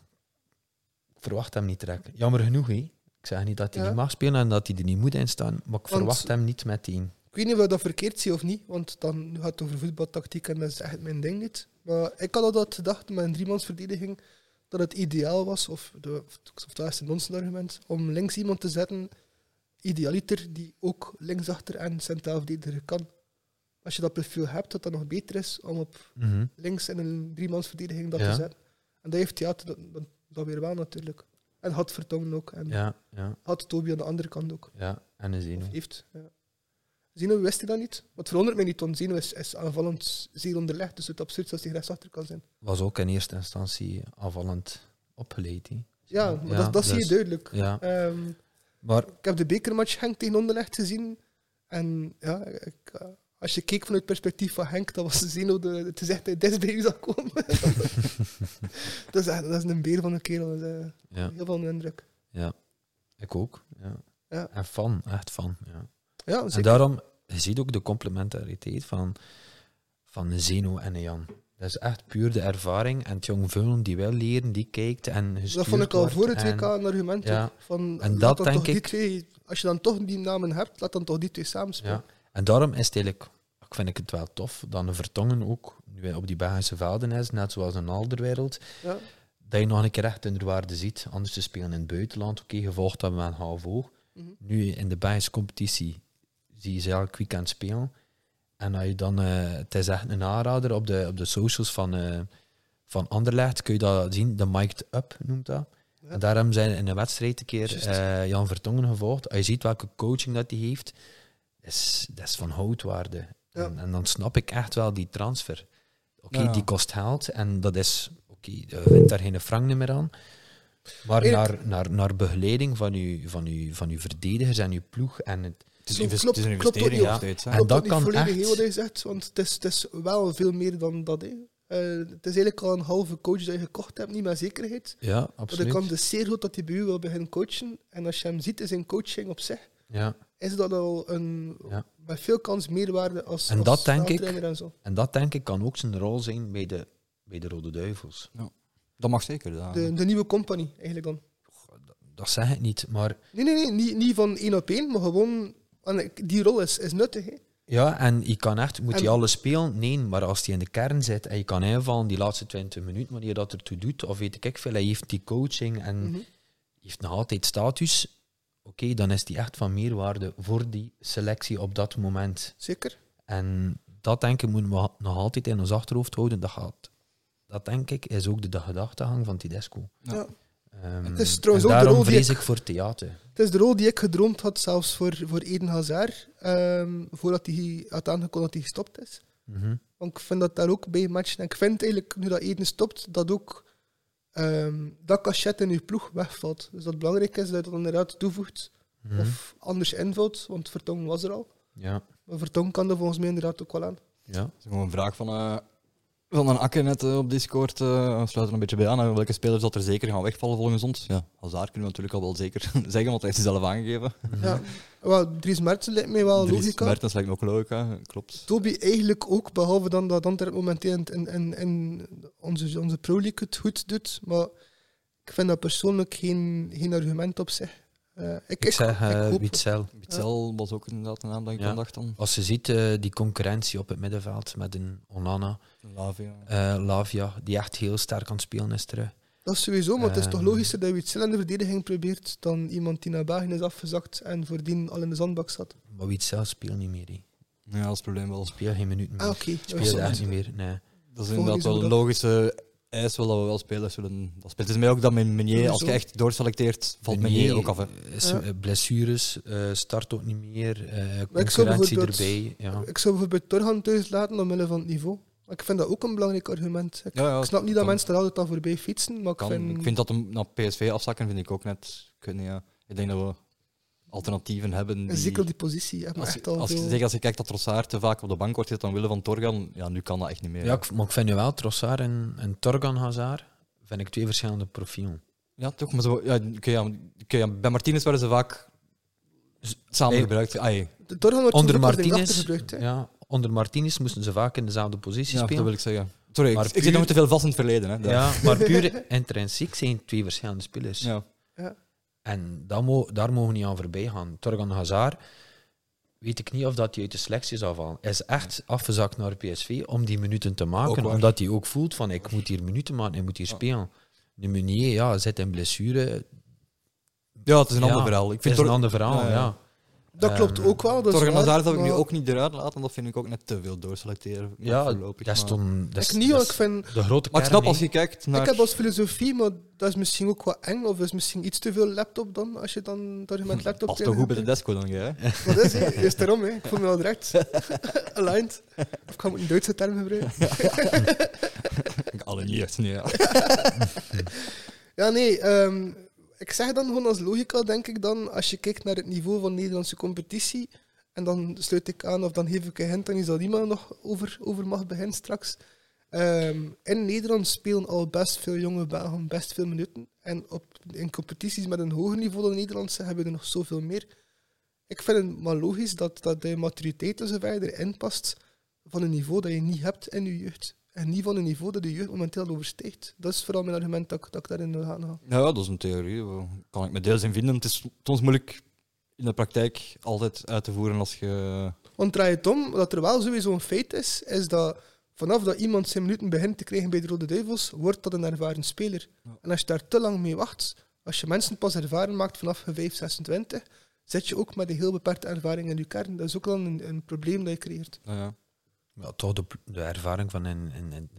ik verwacht hem niet trekken. Jammer genoeg, hè. Ik zeg niet dat hij Ja. niet mag spelen en dat hij er niet moet in staan, maar ik verwacht hem niet met die. Ik weet niet of ik dat verkeerd zie of niet, want dan nu gaat het over voetbaltactiek en dat is echt mijn ding niet. Maar ik had altijd gedacht met een driemansverdediging dat het ideaal was, of, de, of dat is een nonsensargument, om links iemand te zetten, idealiter, die ook linksachter en centraal verdedigen kan. Als je dat profiel hebt, dat dat nog beter is om op Mhm. links in een driemansverdediging dat Ja. te zetten. En dat heeft Theater dat, dat, dat weer wel natuurlijk. En had Vertongen ook, en Ja, ja, had Toby aan de andere kant ook. ja. En een Zeno. Of heeft. Ja. Zeno wist hij dat niet. Wat verandert mij niet, want Zeno is, is aanvallend zeer onderlegd. Dus het absurd is dat hij rechtsachter kan zijn. was ook in eerste instantie aanvallend opgeleid. hè. Ja, maar Ja, dat, dat zie dus- je duidelijk. Ja, Ehm, maar ik heb de bekermatch Henk tegen onderlegd gezien. En ja, ik, eh, als je keek vanuit het perspectief van Henk, dan was Zeno de, te zeggen dat hij des bij u zou komen. dat, is, echt- dat is een beer van een kerel. Dat is, eh, ja, Heel veel indruk. ik ook. Ja. Ja. En fan, echt fan. Ja. Ja, dus En zeker. daarom, je ziet ook de complementariteit van, van een Zeno en een Jan. Dat is echt puur de ervaring en het jong vullen die wel leren, die kijkt en Dat gestuurd vond ik al wordt voor het en- WK een argument. Ja. hoor. Van, En laat dat dan denk toch die ik- twee, als je dan toch die namen hebt, laat dan toch die twee samen spelen. Ja. En daarom is het eigenlijk, ik vind ik het wel tof, dat een Vertongen ook nu hij op die Belgische velden is, net zoals een Alderwereld, Ja. dat je nog een keer echt hun waarde ziet. Anders te spelen in het buitenland, oké, gevolgd hebben we aan HVO. Mhm. Nu in de Belgische competitie zie je ze elk weekend spelen. En als je dan, eh, het is echt een aanrader op de, op de socials van, eh van Anderlecht, kun je dat zien, de Mic'd Up noemt dat. Ja. En daarom zijn in een wedstrijd een keer Juist. eh, Jan Vertongen gevolgd. Als je ziet welke coaching dat hij heeft, is, dat is van houtwaarde. Ja. En, en dan snap ik echt wel die transfer. Oké, Ja. die kost geld en dat is, oké, je wint daar geen frank meer aan. Maar Erik. naar, naar, naar begeleiding van uw, van, uw, van uw verdedigers en uw ploeg. En het, Het is, Zo, invest- klopt- het is een klopt ook investering niet nog op- steeds. hè. En Klopt dat ook niet kan volledig echt- heel wat je zegt, want het is, het is wel veel meer dan dat. Hè. Eh, het is eigenlijk al een halve coach dat je gekocht hebt, niet met zekerheid. ja, Maar dus- de absoluut. kans is zeer goed dat hij bij u wil beginnen coachen. En als je hem ziet in zijn coaching op zich, ja. is dat al een, Ja. met veel kans meerwaarde als, En als dat denk ik- staaltrainer En zo. En dat denk ik kan ook zijn rol zijn bij de, bij de Rode Duivels. Dat mag zeker. Ah, Ja. De, de nieuwe company, eigenlijk dan. Dat zeg ik niet, maar Nee, nee, nee, niet, niet van één op één, maar gewoon... en ik- Die rol is, is nuttig, hè. Ja, en je kan echt, moet En- hij alles spelen? Nee, maar als hij in de kern zit en je kan invallen die laatste 20 minuten, wanneer dat ertoe doet, of weet ik veel, hij heeft die coaching en Mhm. heeft nog altijd status, oké, dan is die echt van meerwaarde voor die selectie op dat moment. Zeker. En dat denk ik moeten we ha- nog altijd in ons achterhoofd houden. Dat, gaat, dat denk ik is ook de de gedachtegang van Tidesco. Ja. Ja. Ehm, Het is en trouwens ook de daarom rol die vrees ik- ik voor theater. Het is de rol die ik gedroomd had, zelfs voor, voor Eden Hazard, ehm, voordat hij had aangekondigd dat hij gestopt is. Mhm. Want ik vind dat daar ook bij matchen. En ik vind eigenlijk, nu dat Eden stopt, dat ook ehm, dat cachet in je ploeg wegvalt. Dus dat het belangrijk is dat je dat inderdaad toevoegt Mhm. of anders invult, want Vertong was er al. Ja, Maar Vertong kan er volgens mij inderdaad ook wel aan. ja. Het is gewoon een vraag van eh, van een akker net eh, op Discord eh sluit er een beetje bij aan. hè. Welke spelers dat er zeker gaan wegvallen volgens ons? Ja, Hazard kunnen we natuurlijk al wel zeker zeggen, want hij heeft het zelf aangegeven. Ja. Wel, Dries Mertens lijkt mij wel Dries logica. Mertens lijkt me ook logica, klopt. Toby eigenlijk ook, behalve dan dat Antwerp momenteel in, in, in onze, onze Pro League het goed doet. Maar ik vind dat persoonlijk geen, geen argument op zich. Eh, ik, ik, Ik zeg ik eh hoop- Witzel. Bitzel was ook inderdaad een naam dat ik Ja. aan dacht dan. Als je ziet eh, die concurrentie op het middenveld met een Onana, Lavia. eh, Lavia, die echt heel sterk aan het spelen is terug. dat is sowieso, maar het is toch Eh, Ehm. logischer dat je Witzel in de verdediging probeert dan iemand die naar België is afgezakt en voordien al in de zandbak zat. Maar Witzel speelt niet meer. Die Ja, dat is het probleem wel. speelt geen minuten meer. Ah, oké. Speelt echt niet meer. Nee. Dat is Volgens inderdaad is hoe wel een dat- logische eis wel dat we wel spelers zullen dat spelen. Het is mij ook dat mijn Meunier, als je Sowieso. echt doorselecteert, valt Meunier Meunier ook af. Hè. is, Ja. eh, Blessures, eh, start ook niet meer. ik eh zou concurrentie bijvoorbeeld- erbij. Ja. Ik zou bijvoorbeeld Torgan thuis laten omwille van het niveau. Maar Ik vind dat ook een belangrijk argument. Ik, Ja, ja, ik snap niet dat kan. mensen er altijd al voorbij fietsen, maar ik Kan. vind... Ik vind dat hem naar PSV afzakken, vind ik ook net. Ik, weet niet, ja. ik denk dat we alternatieven hebben. Die, en zeker op die positie. Heb als, echt al als, je- veel... zeker als je kijkt dat Trossard te vaak op de bank wordt zitten dan willen van Torgan, ja, nu kan dat echt niet meer. Ja, ik- maar ik vind nu wel Trossard en, en Torgan Hazard vind ik twee verschillende profielen. Ja, toch? Maar zo, ja, oké, ja, oké, ja, bij Martinez werden ze vaak s- samen Nee. gebruikt. Ah, jee. De Torgan wordt Onder zoveel korting Martinez, achtergebruikt, hè. ja, onder Martinez moesten ze vaak in dezelfde positie ja, dat spelen. wil ik zeggen. Sorry, ik- Maar ik, zit puur- nog te veel vast in het verleden. Hè, daar. Ja, maar puur intrinsiek zijn twee verschillende spelers. Ja. En dat mo- daar mogen we niet aan voorbij gaan. Torgan Hazard, weet ik niet of dat hij uit de selectie zou vallen. Hij is echt afgezakt naar PSV om die minuten te Ook maken. waar. Omdat hij ook voelt van, ik moet hier minuten maken, ik moet hier Ja. spelen. De Meunier, ja, zit in blessure. ja, het is een Ja, ander verhaal. Ik Het is vind een Tor- ander verhaal, Ja, ja. ja. Dat Ehm, klopt ook wel. Dat is Torgan waar, Hazard heb ik nu maar ook niet eruit laten, dat vind ik ook net te veel doorselecteren. Ja, voorlopig, dat is maar- toen... Dat is, Ik niet, dat want is ik vind... de grote Maar ik snap kern, als je kijkt naar. Ik heb als filosofie, maar dat is misschien ook wat eng, of is misschien iets te veel laptop dan, als je dan het argument laptop Past toch tegen goed bij de hebt. desco dan, jij? hè? Maar dat is, hè. is daarom, hè. ik voel me al direct aligned. Of ik ga een Duitse term gebruiken. Ik alle niet echt, nee. Ja. Ja, nee. ehm, ik zeg dan gewoon als logica, denk ik dan, als je kijkt naar het niveau van Nederlandse competitie, en dan sluit ik aan of dan geef ik een hint aan Isadima nog over, over mag beginnen straks. Ehm, in Nederland spelen al best veel jonge Belgen best veel minuten. En op, in competities met een hoger niveau dan Nederlandse hebben we er nog zoveel meer. Ik vind het maar logisch dat, dat de maturiteit enzovoort erin past van een niveau dat je niet hebt in je jeugd. En niet van een niveau dat de jeugd momenteel overstijgt. Dat is vooral mijn argument dat, ik- dat ik daarin wil gaan halen. Nou ja, dat is een theorie. Daar Kan ik me deels in vinden. Het is soms moeilijk in de praktijk altijd uit te voeren als je. Want draai het om, dat er wel sowieso een feit is, is dat vanaf dat iemand zijn minuten begint te krijgen bij de Rode Duivels, wordt dat een ervaren speler. Ja. En als je daar te lang mee wacht, als je mensen pas ervaren maakt vanaf je 5, 26, zit je ook met een heel beperkte ervaring in je kern. Dat is ook dan een, een probleem dat je creëert. Nou ja. Ja, toch de, de ervaring van in, in, in,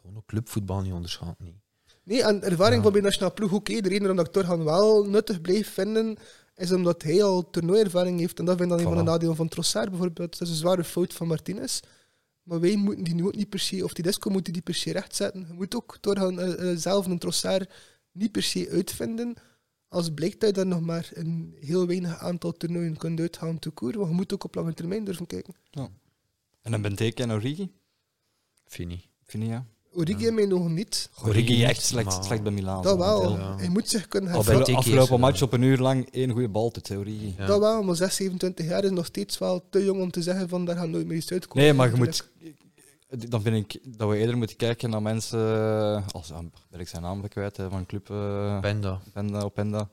gewoon ook clubvoetbal niet onderschat. Niet. Nee, en ervaring Ja. van bij de nationale ploeg, oké, de reden waarom dat ik Torgan wel nuttig bleef vinden, is omdat hij al toernooiervaring heeft. En dat vind ik dan een van Voilà. de nadelen van Trossard bijvoorbeeld. Dat is een zware fout van Martinez. Maar wij moeten die nu ook niet per se, of die disco moeten die per se rechtzetten. Je moet ook Torgan eh, eh, zelf een Trossard niet per se uitvinden, als blijkt dat je daar nog maar een heel weinig aantal toernooien kunt uithalen te koer. Want je moet ook op lange termijn durven kijken. En dan Benteke en Origi. Vind ik niet. Vind je ja? Origi Ja. in mijn ogen niet. Origi echt slecht, maar- slecht bij Milaan. Dat wel. Ja. Hij moet zich kunnen Al bij Afgelopen, Benteke is- afgelopen match op een uur lang één goede bal te Origi. Ja. Dat wel, maar 6, 27 jaar is nog steeds wel te jong om te zeggen van daar gaan nooit meer iets uitkomen. Nee, maar je Natuurlijk. moet. Dan vind ik dat we eerder moeten kijken naar mensen. Als ah, ben ik zijn naam weer kwijt hè, van club eh, Penda. Openda, Openda.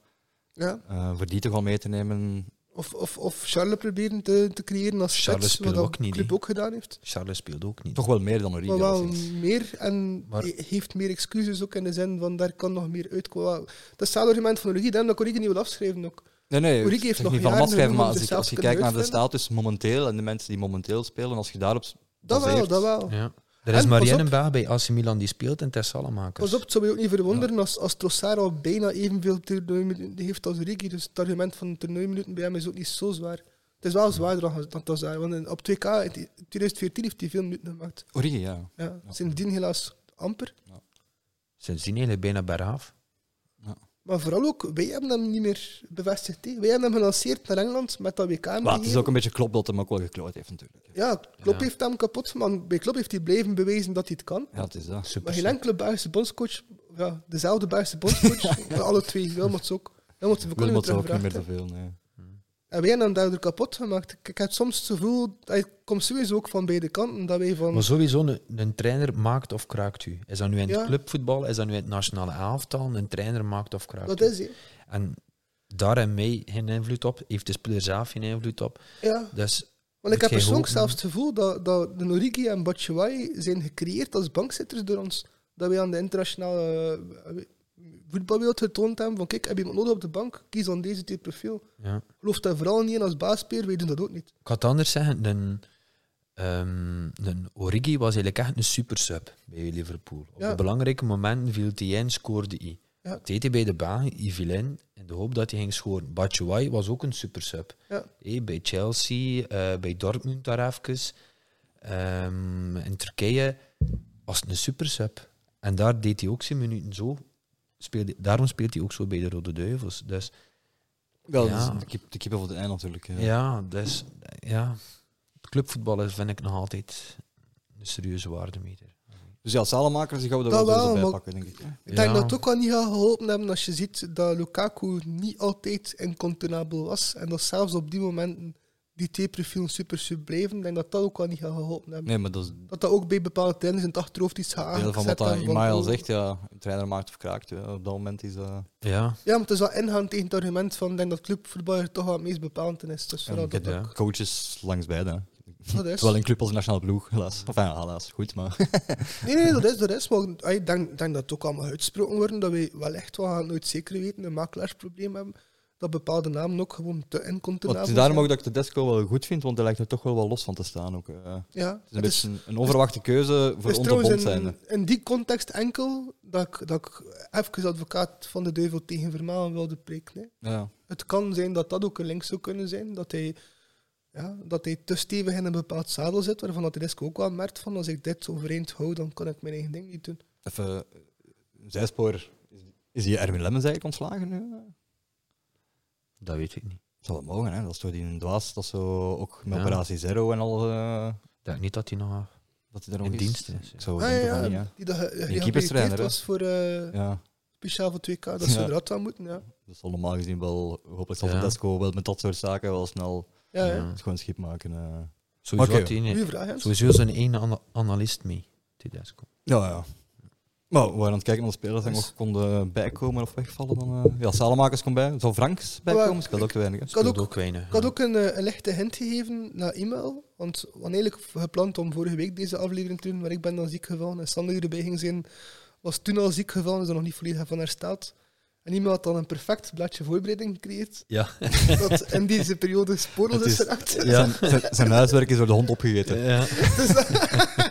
Ja. Eh, voor die toch al mee te nemen. Of, of, of Charles proberen te, te creëren als spits, Charles wat speelde dat ook niet, club hè? ook gedaan heeft. Charles speelt ook niet. Toch wel meer dan Origi. Maar wel eh, alleszins. meer en Maar- he- heeft meer excuses ook in de zin van daar kan nog meer uitkomen. Dat is hetzelfde argument van Origi, daarom dat ik Origi niet wil afschrijven ook. Nee, nee, Origi ik heeft zeg nog niet van jaren mat schrijven, om maar als zichzelf je, als je te kunnen kijkt naar de uitvinden. status momenteel en de mensen die momenteel spelen, als je daarop s- Dat wel, baseert- dat wel. Ja. Er is En pas Marianne op. Baag bij AC Milan die speelt in Thessalonica. Pas op, het zou je ook niet verwonderen als, als Trossard al bijna evenveel toernooiminuten heeft als Origi. Dus het argument van toernooiminuten bij hem is ook niet zo zwaar. Het is wel zwaarder dan, dan Trossard, want in- op 2K in 2014 heeft hij veel minuten gemaakt. Origi, ja. Ja, Sindsdien helaas amper. Sindsdien eigenlijk bijna bergaf. Ja. Maar vooral ook, wij hebben hem niet meer bevestigd. hè. Wij hebben hem gelanceerd naar Engeland met dat WK. Maar het is meegegeven. ook een beetje klopt dat hem ook wel gekloot heeft, natuurlijk. Ja, Klopp Ja. heeft hem kapot gemaakt. Bij Klopp heeft hij blijven bewijzen dat hij het kan. Ja, het is dat. Super. Maar geen enkele Belgische bondscoach, ja, dezelfde Belgische bondscoach, maar alle twee, Wilmots ook. Wilmots heeft ook niet meer Wilmot zou ook niet meer teruggevraagd, hè. zoveel. Nee. En wij hebben hem daardoor kapot gemaakt. Ik, ik heb soms het gevoel, hij komt sowieso ook van beide kanten, dat wij van... Maar sowieso, een, een trainer maakt of kraakt u. Is dat nu in het Ja. clubvoetbal, is dat nu in het nationale elftal? Een trainer maakt of kraakt Dat u. is hij. En daar en mij geen invloed op, heeft de speler zelf geen invloed op. Ja. Dus Want ik Moet heb jij persoonlijk hopen. zelfs het gevoel dat, dat de Norigi en Batshuayi zijn gecreëerd als bankzitters door ons. Dat wij aan de internationale eh, voetbalwereld getoond hebben van kijk, heb je iemand nodig op de bank? Kies dan deze type profiel. ja. Geloof daar vooral niet in als baaspeer, wij doen dat ook niet. ik had het anders zeggen. Een, ehm, een Origi was eigenlijk echt een super sub bij Liverpool. Op Ja. de belangrijke momenten viel hij in, scoorde hij. Ja. Dat deed hij bij de baan, hij viel in in de hoop dat hij ging scoren. Batshuayi was ook een super sub. Ja. Hé, bij Chelsea, eh, bij Dortmund daar even. Ehm, in Turkije was het een super sub. En daar deed hij ook zijn minuten zo. Speelde, daarom speelt hij ook zo bij de Rode Duivels. Dus Wel, Ja. dus de kip- de kippen voor het eind natuurlijk. ja, eh. dus, ja. clubvoetbal is, vind ik nog altijd een serieuze waardemeter. Dus ja, salemakers, die gaan we er Dat wel, wel, zo bij maar- pakken, denk ik. hè. Ik denk Ja. dat het ook wel niet gaat geholpen hebben als je ziet dat Lukaku niet altijd incontournabel was. En dat zelfs op die momenten die twee profielen super sub bleven. Ik denk dat dat ook wel niet gaat geholpen hebben. Nee, maar dat is het Dat dat ook bij bepaalde trainers in het achterhoofd iets gaat deel van aangezet wat dat hebben van, Imael oh. zegt. Ja, een trainer maakt of kraakt. ja. Op dat moment is eh, dat... Ja, Ja, maar het is wel ingaan tegen het argument van ik denk dat clubvoetbal er toch wel het meest bepalend in is. Dus Ja, vooral ik dat heb- ook. ja. coaches langs beide. hè. Dat is. Zowel in club als in nationale ploeg, helaas. Of ja, helaas, goed, maar... Nee, nee, dat is, dat is. Maar ah, ik denk, ik denk dat het ook allemaal uitgesproken wordt, dat we wel echt wel gaan nooit zeker weten, een makelaarsprobleem hebben, dat bepaalde namen ook gewoon te Want het incontournabel is daarom ook zijn. dat ik de Desco wel goed vind, want hij lijkt er toch wel wel los van te staan. Ook, eh. Het Ja, is een beetje een- een onverwachte keuze voor Dus onze bond trouwens zijnde. in, in die context enkel dat ik, dat ik even advocaat van de duivel tegen Vermalen wilde preken. hè. Ja. Het kan zijn dat dat ook een link zou kunnen zijn, dat hij, ja, dat hij te stevig in een bepaald zadel zit, waarvan dat de risk ook wel merkt van als ik dit overeind hou, dan kan ik mijn eigen ding niet doen. Even, eh, zijspoor, is, is hier Erwin Lemmens eigenlijk ontslagen nu? dat weet ik niet. Zou dat mogen, hè? Dat is door die een dwaas, dat zo ook met Ja. operatie Zero en al, eh, Ik denk niet dat hij nog... dat hij er nog In is. dienst is, ja. Ik zou Ah, denken van ja, Oh, niet, die dat ge- keeperstrainer, gerehabiliteerd hè? was voor, eh, hè. Ja. speciaal voor 2K, dat Ja. ze eruit aan moeten. Ja. Dat zal normaal gezien wel, hopelijk zal de Ja. Desco wel met dat soort zaken wel snel Ja, ja. Ja. het gewoon schip maken. eh. Sowieso Oké. had hij een- Goeie vraag, hè? sowieso zijn één ana- analist mee, Tedesco. Ja, ja. Maar we waren aan het kijken naar de spelers die nog konden bijkomen of wegvallen. Dan, eh, Ja, Salemakers komt bij. Zou Franks bijkomen? Maar Dat ook te weinig. hè. Ik had ook Speelde ook weinig. Ik had ja. ook een, eh, een lichte hint gegeven naar e-mail. Want we hadden eigenlijk gepland om vorige week deze aflevering te doen, maar ik ben dan ziek gevallen. En Sander die erbij ging zijn, was toen al ziek gevallen, is er nog niet volledig van hersteld. En e-mail had dan een perfect blaadje voorbereiding gecreëerd, Ja. dat in deze periode spoorloos Het is is- geraakt. Zijn, zijn- zijn huiswerk is door de hond opgegeten. Ja. Dus-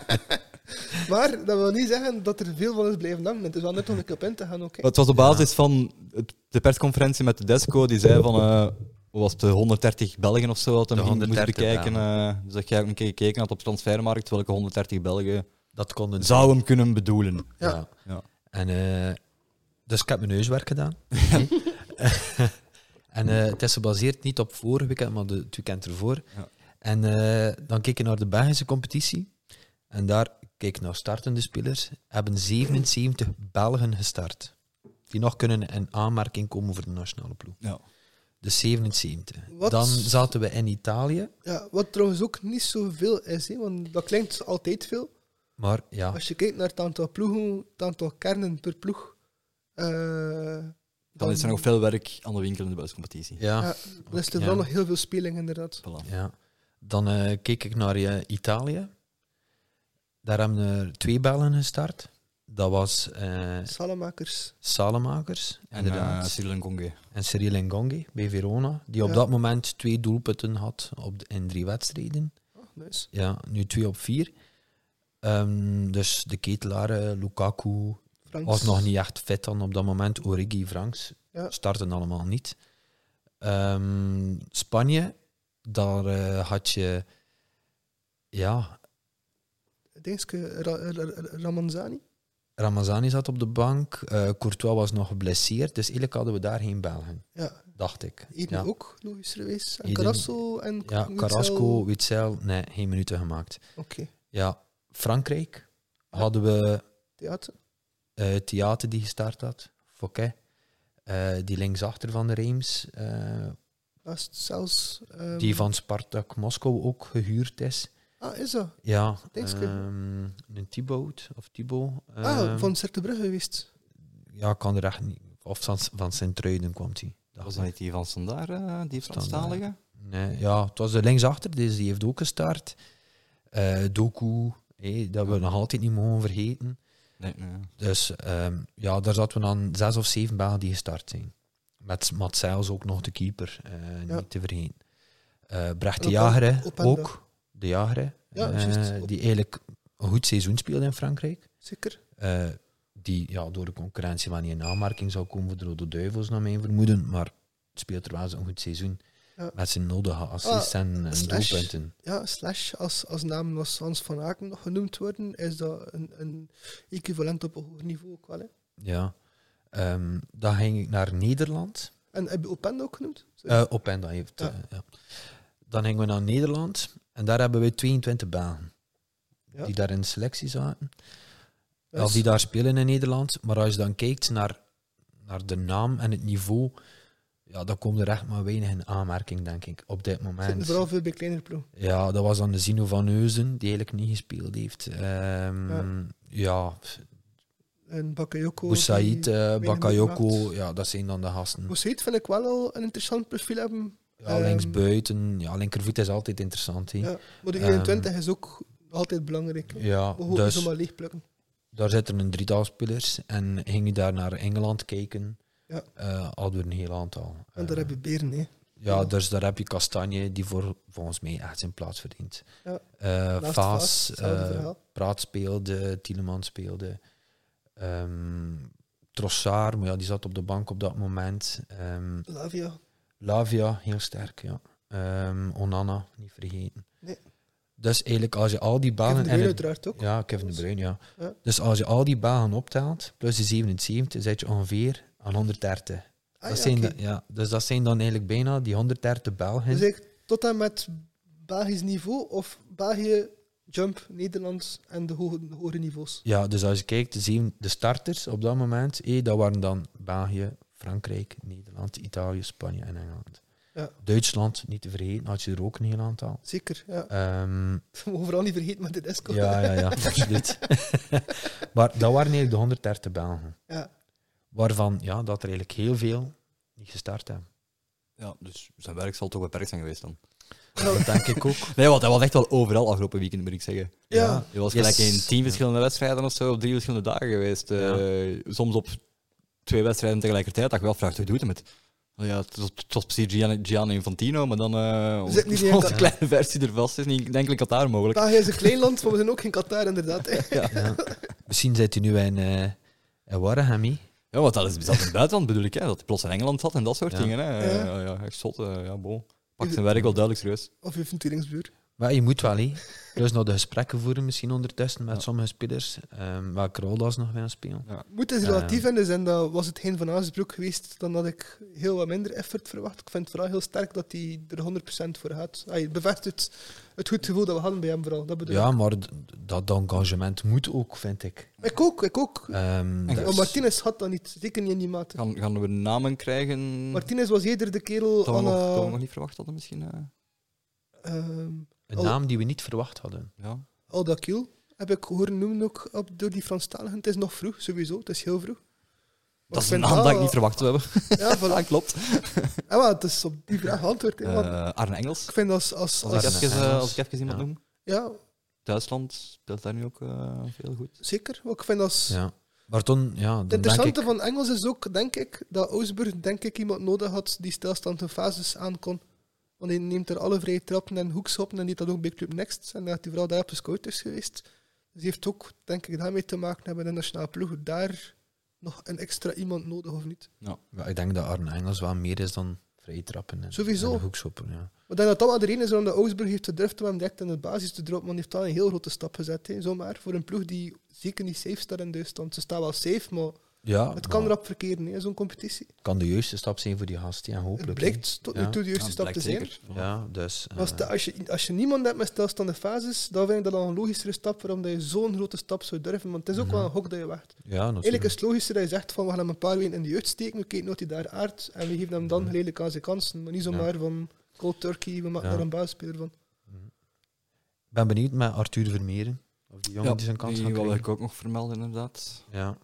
Maar dat wil niet zeggen dat er veel van is blijven hangen. Het is wel net om een keer op in te gaan, oké. Maar Het was op basis van het- de persconferentie met de Desco. Die zei van, eh, hoe was het, de 130 Belgen of zo, dat De hem moest 130 bekijken. eh, dus dat jij ook een keer gekeken had op de transfermarkt, welke 130 Belgen Dat konden ze. zou hem kunnen bedoelen. Ja. Ja. Ja. En, eh, dus ik heb mijn neuswerk gedaan. en eh, het is gebaseerd niet op vorig weekend, maar de, het weekend ervoor. Ja. En eh, dan keek je naar de Belgische competitie. En daar keek ik naar startende spelers. Hebben 77 Belgen gestart. Die nog kunnen in aanmerking komen voor de nationale ploeg. Ja. Dus 77. Wat? Dan zaten we in Italië. Ja, wat trouwens ook niet zoveel is, hè, want dat klinkt altijd veel. Maar ja, Als je kijkt naar het aantal ploegen, het aantal kernen per ploeg, eh, Dan is er nog veel werk aan de winkel in de buitencompetitie. ja. Ja, dan is er Ja. wel nog heel veel speling, inderdaad. Voilà. Ja. Dan eh, keek ik naar eh, Italië. Daar hebben er twee bellen gestart. Dat was eh Salamakers. Salemakers, En uh, inderdaad. Cyril Ngonge. en Cyril Ngongi bij Verona, die op Ja. dat moment twee doelpunten had op de- in drie wedstrijden. Oh, nice. Ja, nu twee op vier. Ehm, dus de ketelaren, Lukaku, Franks. was nog niet echt fit dan op dat moment. Origi, Franks Ja. starten allemaal niet. Ehm, Spanje, daar eh, had je... Ja, Dingske, Ra- Ra- Ra- Ramanzani. Ramazani zat op de bank, eh, Courtois was nog geblesseerd, dus eigenlijk hadden we daar geen Belgen, Ja, dacht ik. Eden ja. ook, logischerwijs. En Eden- Carrasso en Ja, Witzel. Carrasco, Witzel, nee, geen minuten gemaakt. Oké, Ja, Frankrijk hadden we theater. eh Theater die gestart had, Fouquet, eh, die linksachter van de Reims, eh, Dat is zelfs... ehm, die van Spartak Moskou ook gehuurd is. Ah, is dat? Ja, Dingske. ehm, een Thibaut of Thibaut. ah, ehm, van Sertebrugge geweest. Ja, ik kan er echt niet. Of van, van Sint-Truiden kwam die. dacht Was ik. dat niet die van Standaard, eh, die Franstalige? Nee, ja, het was de linksachter, dus die heeft ook gestart. Eh Doku, hé, dat we nog altijd niet mogen vergeten. Nee, nee. Dus ehm, ja, daar zaten we dan zes of zeven Belgen die gestart zijn. Met Matsels ook nog de keeper, eh, Ja. niet te vergeten. Eh Brecht de Op- Jager, hè, op- op- ook. De Jager, hè, Ja, eh, juist, op- die eigenlijk een goed seizoen speelde in Frankrijk. Zeker. Eh, die ja, door de concurrentie van die in aanmerking zou komen voor de Rode Duivels, naar mijn vermoeden. Maar het speelt er wel eens een goed seizoen. Ja. Ah, Met zijn nodige assists en, en slash. doelpunten. Ja, Slash, als, als naam was Hans van Aken nog genoemd worden, is dat een, een equivalent op een hoger niveau ook wel. Hè. Ja. Ehm, dan ging ik naar Nederland. En heb je Openda ook genoemd? Sorry. Eh op en dan heeft. Ja. eh, ja. Dan gingen we naar Nederland. En daar hebben we 22 banen. Ja. Die daar in de selectie zaten. Dat Of is- die daar spelen in Nederland. Maar als je dan kijkt naar, naar de naam en het niveau. Ja, dan komt er echt maar weinig in aanmerking, denk ik, op dit zitten moment. vooral veel bij kleinere ploegen. Ja, dat was dan de Zino van Neuzen, die eigenlijk niet gespeeld heeft. Ehm, Ja. ja, En Bakayoko. Boussaïd, eh. die- Bakayoko, gemaakt. ja, dat zijn dan de gasten. Boussaïd vind ik wel al een interessant profiel hebben. Ja, ehm, linksbuiten, ja, linkervoet is altijd interessant. hè. Ja, Ja. Maar de Ehm, 21 is ook altijd belangrijk. hè. We hoeven dus, dus zomaar leeg plukken. daar zitten een drietal spelers. En ging je daar naar Engeland kijken, Ja. eh, hadden we een heel aantal. En daar Eh, heb je beren, hè. Ja, dus daar heb je Kastanje, die voor, volgens mij echt zijn plaats verdient. Ja. Eh, Naast Vaas, Vaas, hetzelfde eh, verhaal. Praat speelde, Tieleman speelde. ehm Trossard, maar ja, die zat op de bank op dat moment. ehm, Lavia. Lavia, heel sterk, ja. Ehm, Onana, niet vergeten. Nee. Dus eigenlijk als je al Kevin die banen... de Bruyne uiteraard ook. ja, Kevin de Bruyne, ja. Ja. Dus als je al die banen optelt, plus die 77, zit je ongeveer aan 130. Ah, dat ja, zijn oké. de- ja, dus dat zijn dan eigenlijk bijna die 130 Belgen. Dus eigenlijk tot en met Belgisch niveau of België, Jump, Nederlands en de hoge, de hogere niveaus. Ja, dus als je kijkt, de, zeven- de starters op dat moment, hé, dat waren dan België, Frankrijk, Nederland, Italië, Spanje en Engeland. Ja. Duitsland, niet te vergeten, had je er ook een heel aantal. Zeer, ja. Ehm, Dat mogen we vooral niet vergeten met de disco. ja, ja, ja, absoluut. maar dat waren eigenlijk de 130 Belgen. Ja. Waarvan, ja, dat er eigenlijk heel veel niet gestart hebben. Ja, dus zijn werk zal toch beperkt zijn geweest dan. Dat denk ik ook. Nee, want hij was echt wel overal afgelopen weekend, moet ik zeggen. Ja. Je was Yes. gelijk in tien verschillende wedstrijden of zo op drie verschillende dagen geweest. Eh, Soms op twee wedstrijden tegelijkertijd. Dat ik wel vraagt, hoe doet hem het? Nou Ja, het was, het was precies Gian- Gianni Infantino, maar dan eh We zitten niet in onze, onze Qatar. kleine versie er vast is. Niet, denk ik dat daar mogelijk. België is een klein land, maar we zijn ook geen Qatar, inderdaad. hè. Ja. Misschien zit hij nu in, eh in Wareham, hé. Ja, want dat is dat in het buitenland bedoel ik, hè, dat hij plots in Engeland zat en dat soort Ja. dingen. Hè. Eh, Ja. Ja. ja, echt zot. eh, ja, bon. Pakt zijn werk wel duidelijk serieus. Of je verteringsbuur. Maar je moet wel, hé. Dus nog de gesprekken voeren misschien ondertussen met sommige spelers. Ehm welke rol dat ze nog willen spelen. Moet is Ja. relatief Eh. in de zin dat was het geen Van Azenbroek geweest, dan had ik heel wat minder effort verwacht. Ik vind het vooral heel sterk dat hij er 100% voor gaat. Hij bevestigt het goed gevoel dat we hadden bij hem vooral. Dat bedoel ik. Ja, maar d- dat engagement moet ook, vind ik. Ik ook, ik ook. Ehm, En dat Maar is- Martinez had dat niet, zeker niet in die mate. Gaan, gaan we namen krijgen? Martinez was eerder de kerel Dat we, aan... nog, dat we eh, nog niet verwacht hadden, misschien. eh. ehm, Een naam die we niet verwacht hadden. ja. Al dat kiel heb ik horen noemen ook op, door die Franstaligen. Het is nog vroeg, sowieso. Het is heel vroeg. Dat is ik een vind naam dat ik wel- eh, niet verwacht zou hebben. Ja, Ja, voilà. klopt. ja, maar het is op die vraag antwoord. hè, want Eh, Arne Engels. ik vind als... als, Als ik, Arne als even, eh, Engels. als ik even iemand Ja. noem. ja, Duitsland speelt daar nu ook eh, veel goed. zeker. Maar ik vind als... Ja. Maar toen, ja, Het dan denk ik... interessante van Engels is ook, denk ik, dat Oosburg denk ik iemand nodig had die stilstand en fases aan kon. Want hij neemt er alle vrije trappen en hoekshoppen en die dat ook bij Club Next. En dat hij vooral daarop gescoord is geweest. Dus hij heeft ook, denk ik, daarmee te maken hebben in de nationale ploeg. Daar nog een extra iemand nodig of niet. Ja, ik denk dat Arne Engels wel meer is dan vrije trappen en, Sowieso. en hoekschoppen. Ja. Maar ik denk dat dat wel de reden is waarom de Augsburg heeft gedurfd om hem direct in de basis te droppen. Want die heeft daar een heel grote stap gezet, hè, zomaar. Voor een ploeg die zeker niet safe staat in Duitsland. Ze staan wel safe, maar Ja, het Ah, maar kan erop verkeren, hè, zo'n competitie. kan de juiste stap zijn voor die gast. Ja, hopelijk. Het blijkt tot nu Ja. toe de juiste Ja, stap te blijkt zijn. zeker. hè. Ja, dus. eh, Maar Als, de- als, je, als je niemand hebt met stilstaande fases, dan vind ik dat al een logischere stap waarom dat je zo'n grote stap zou durven. Want het is ook wel een gok dat je waagt. ja, natuurlijk. Eigenlijk is het logischer dat je zegt van we gaan hem een paar weken in de jeugd steken, we kijken nooit hij daar aard en we geven hem dan geleidelijk aan zijn kansen. Maar niet zomaar van cold turkey, we maken Ja. er een basisspeler van. Ik ben benieuwd met Arthur Vermeeren. Of die jongen Ja, die zijn kans die gaat wil krijgen. ik ook nog vermelden, inderdaad. Ja.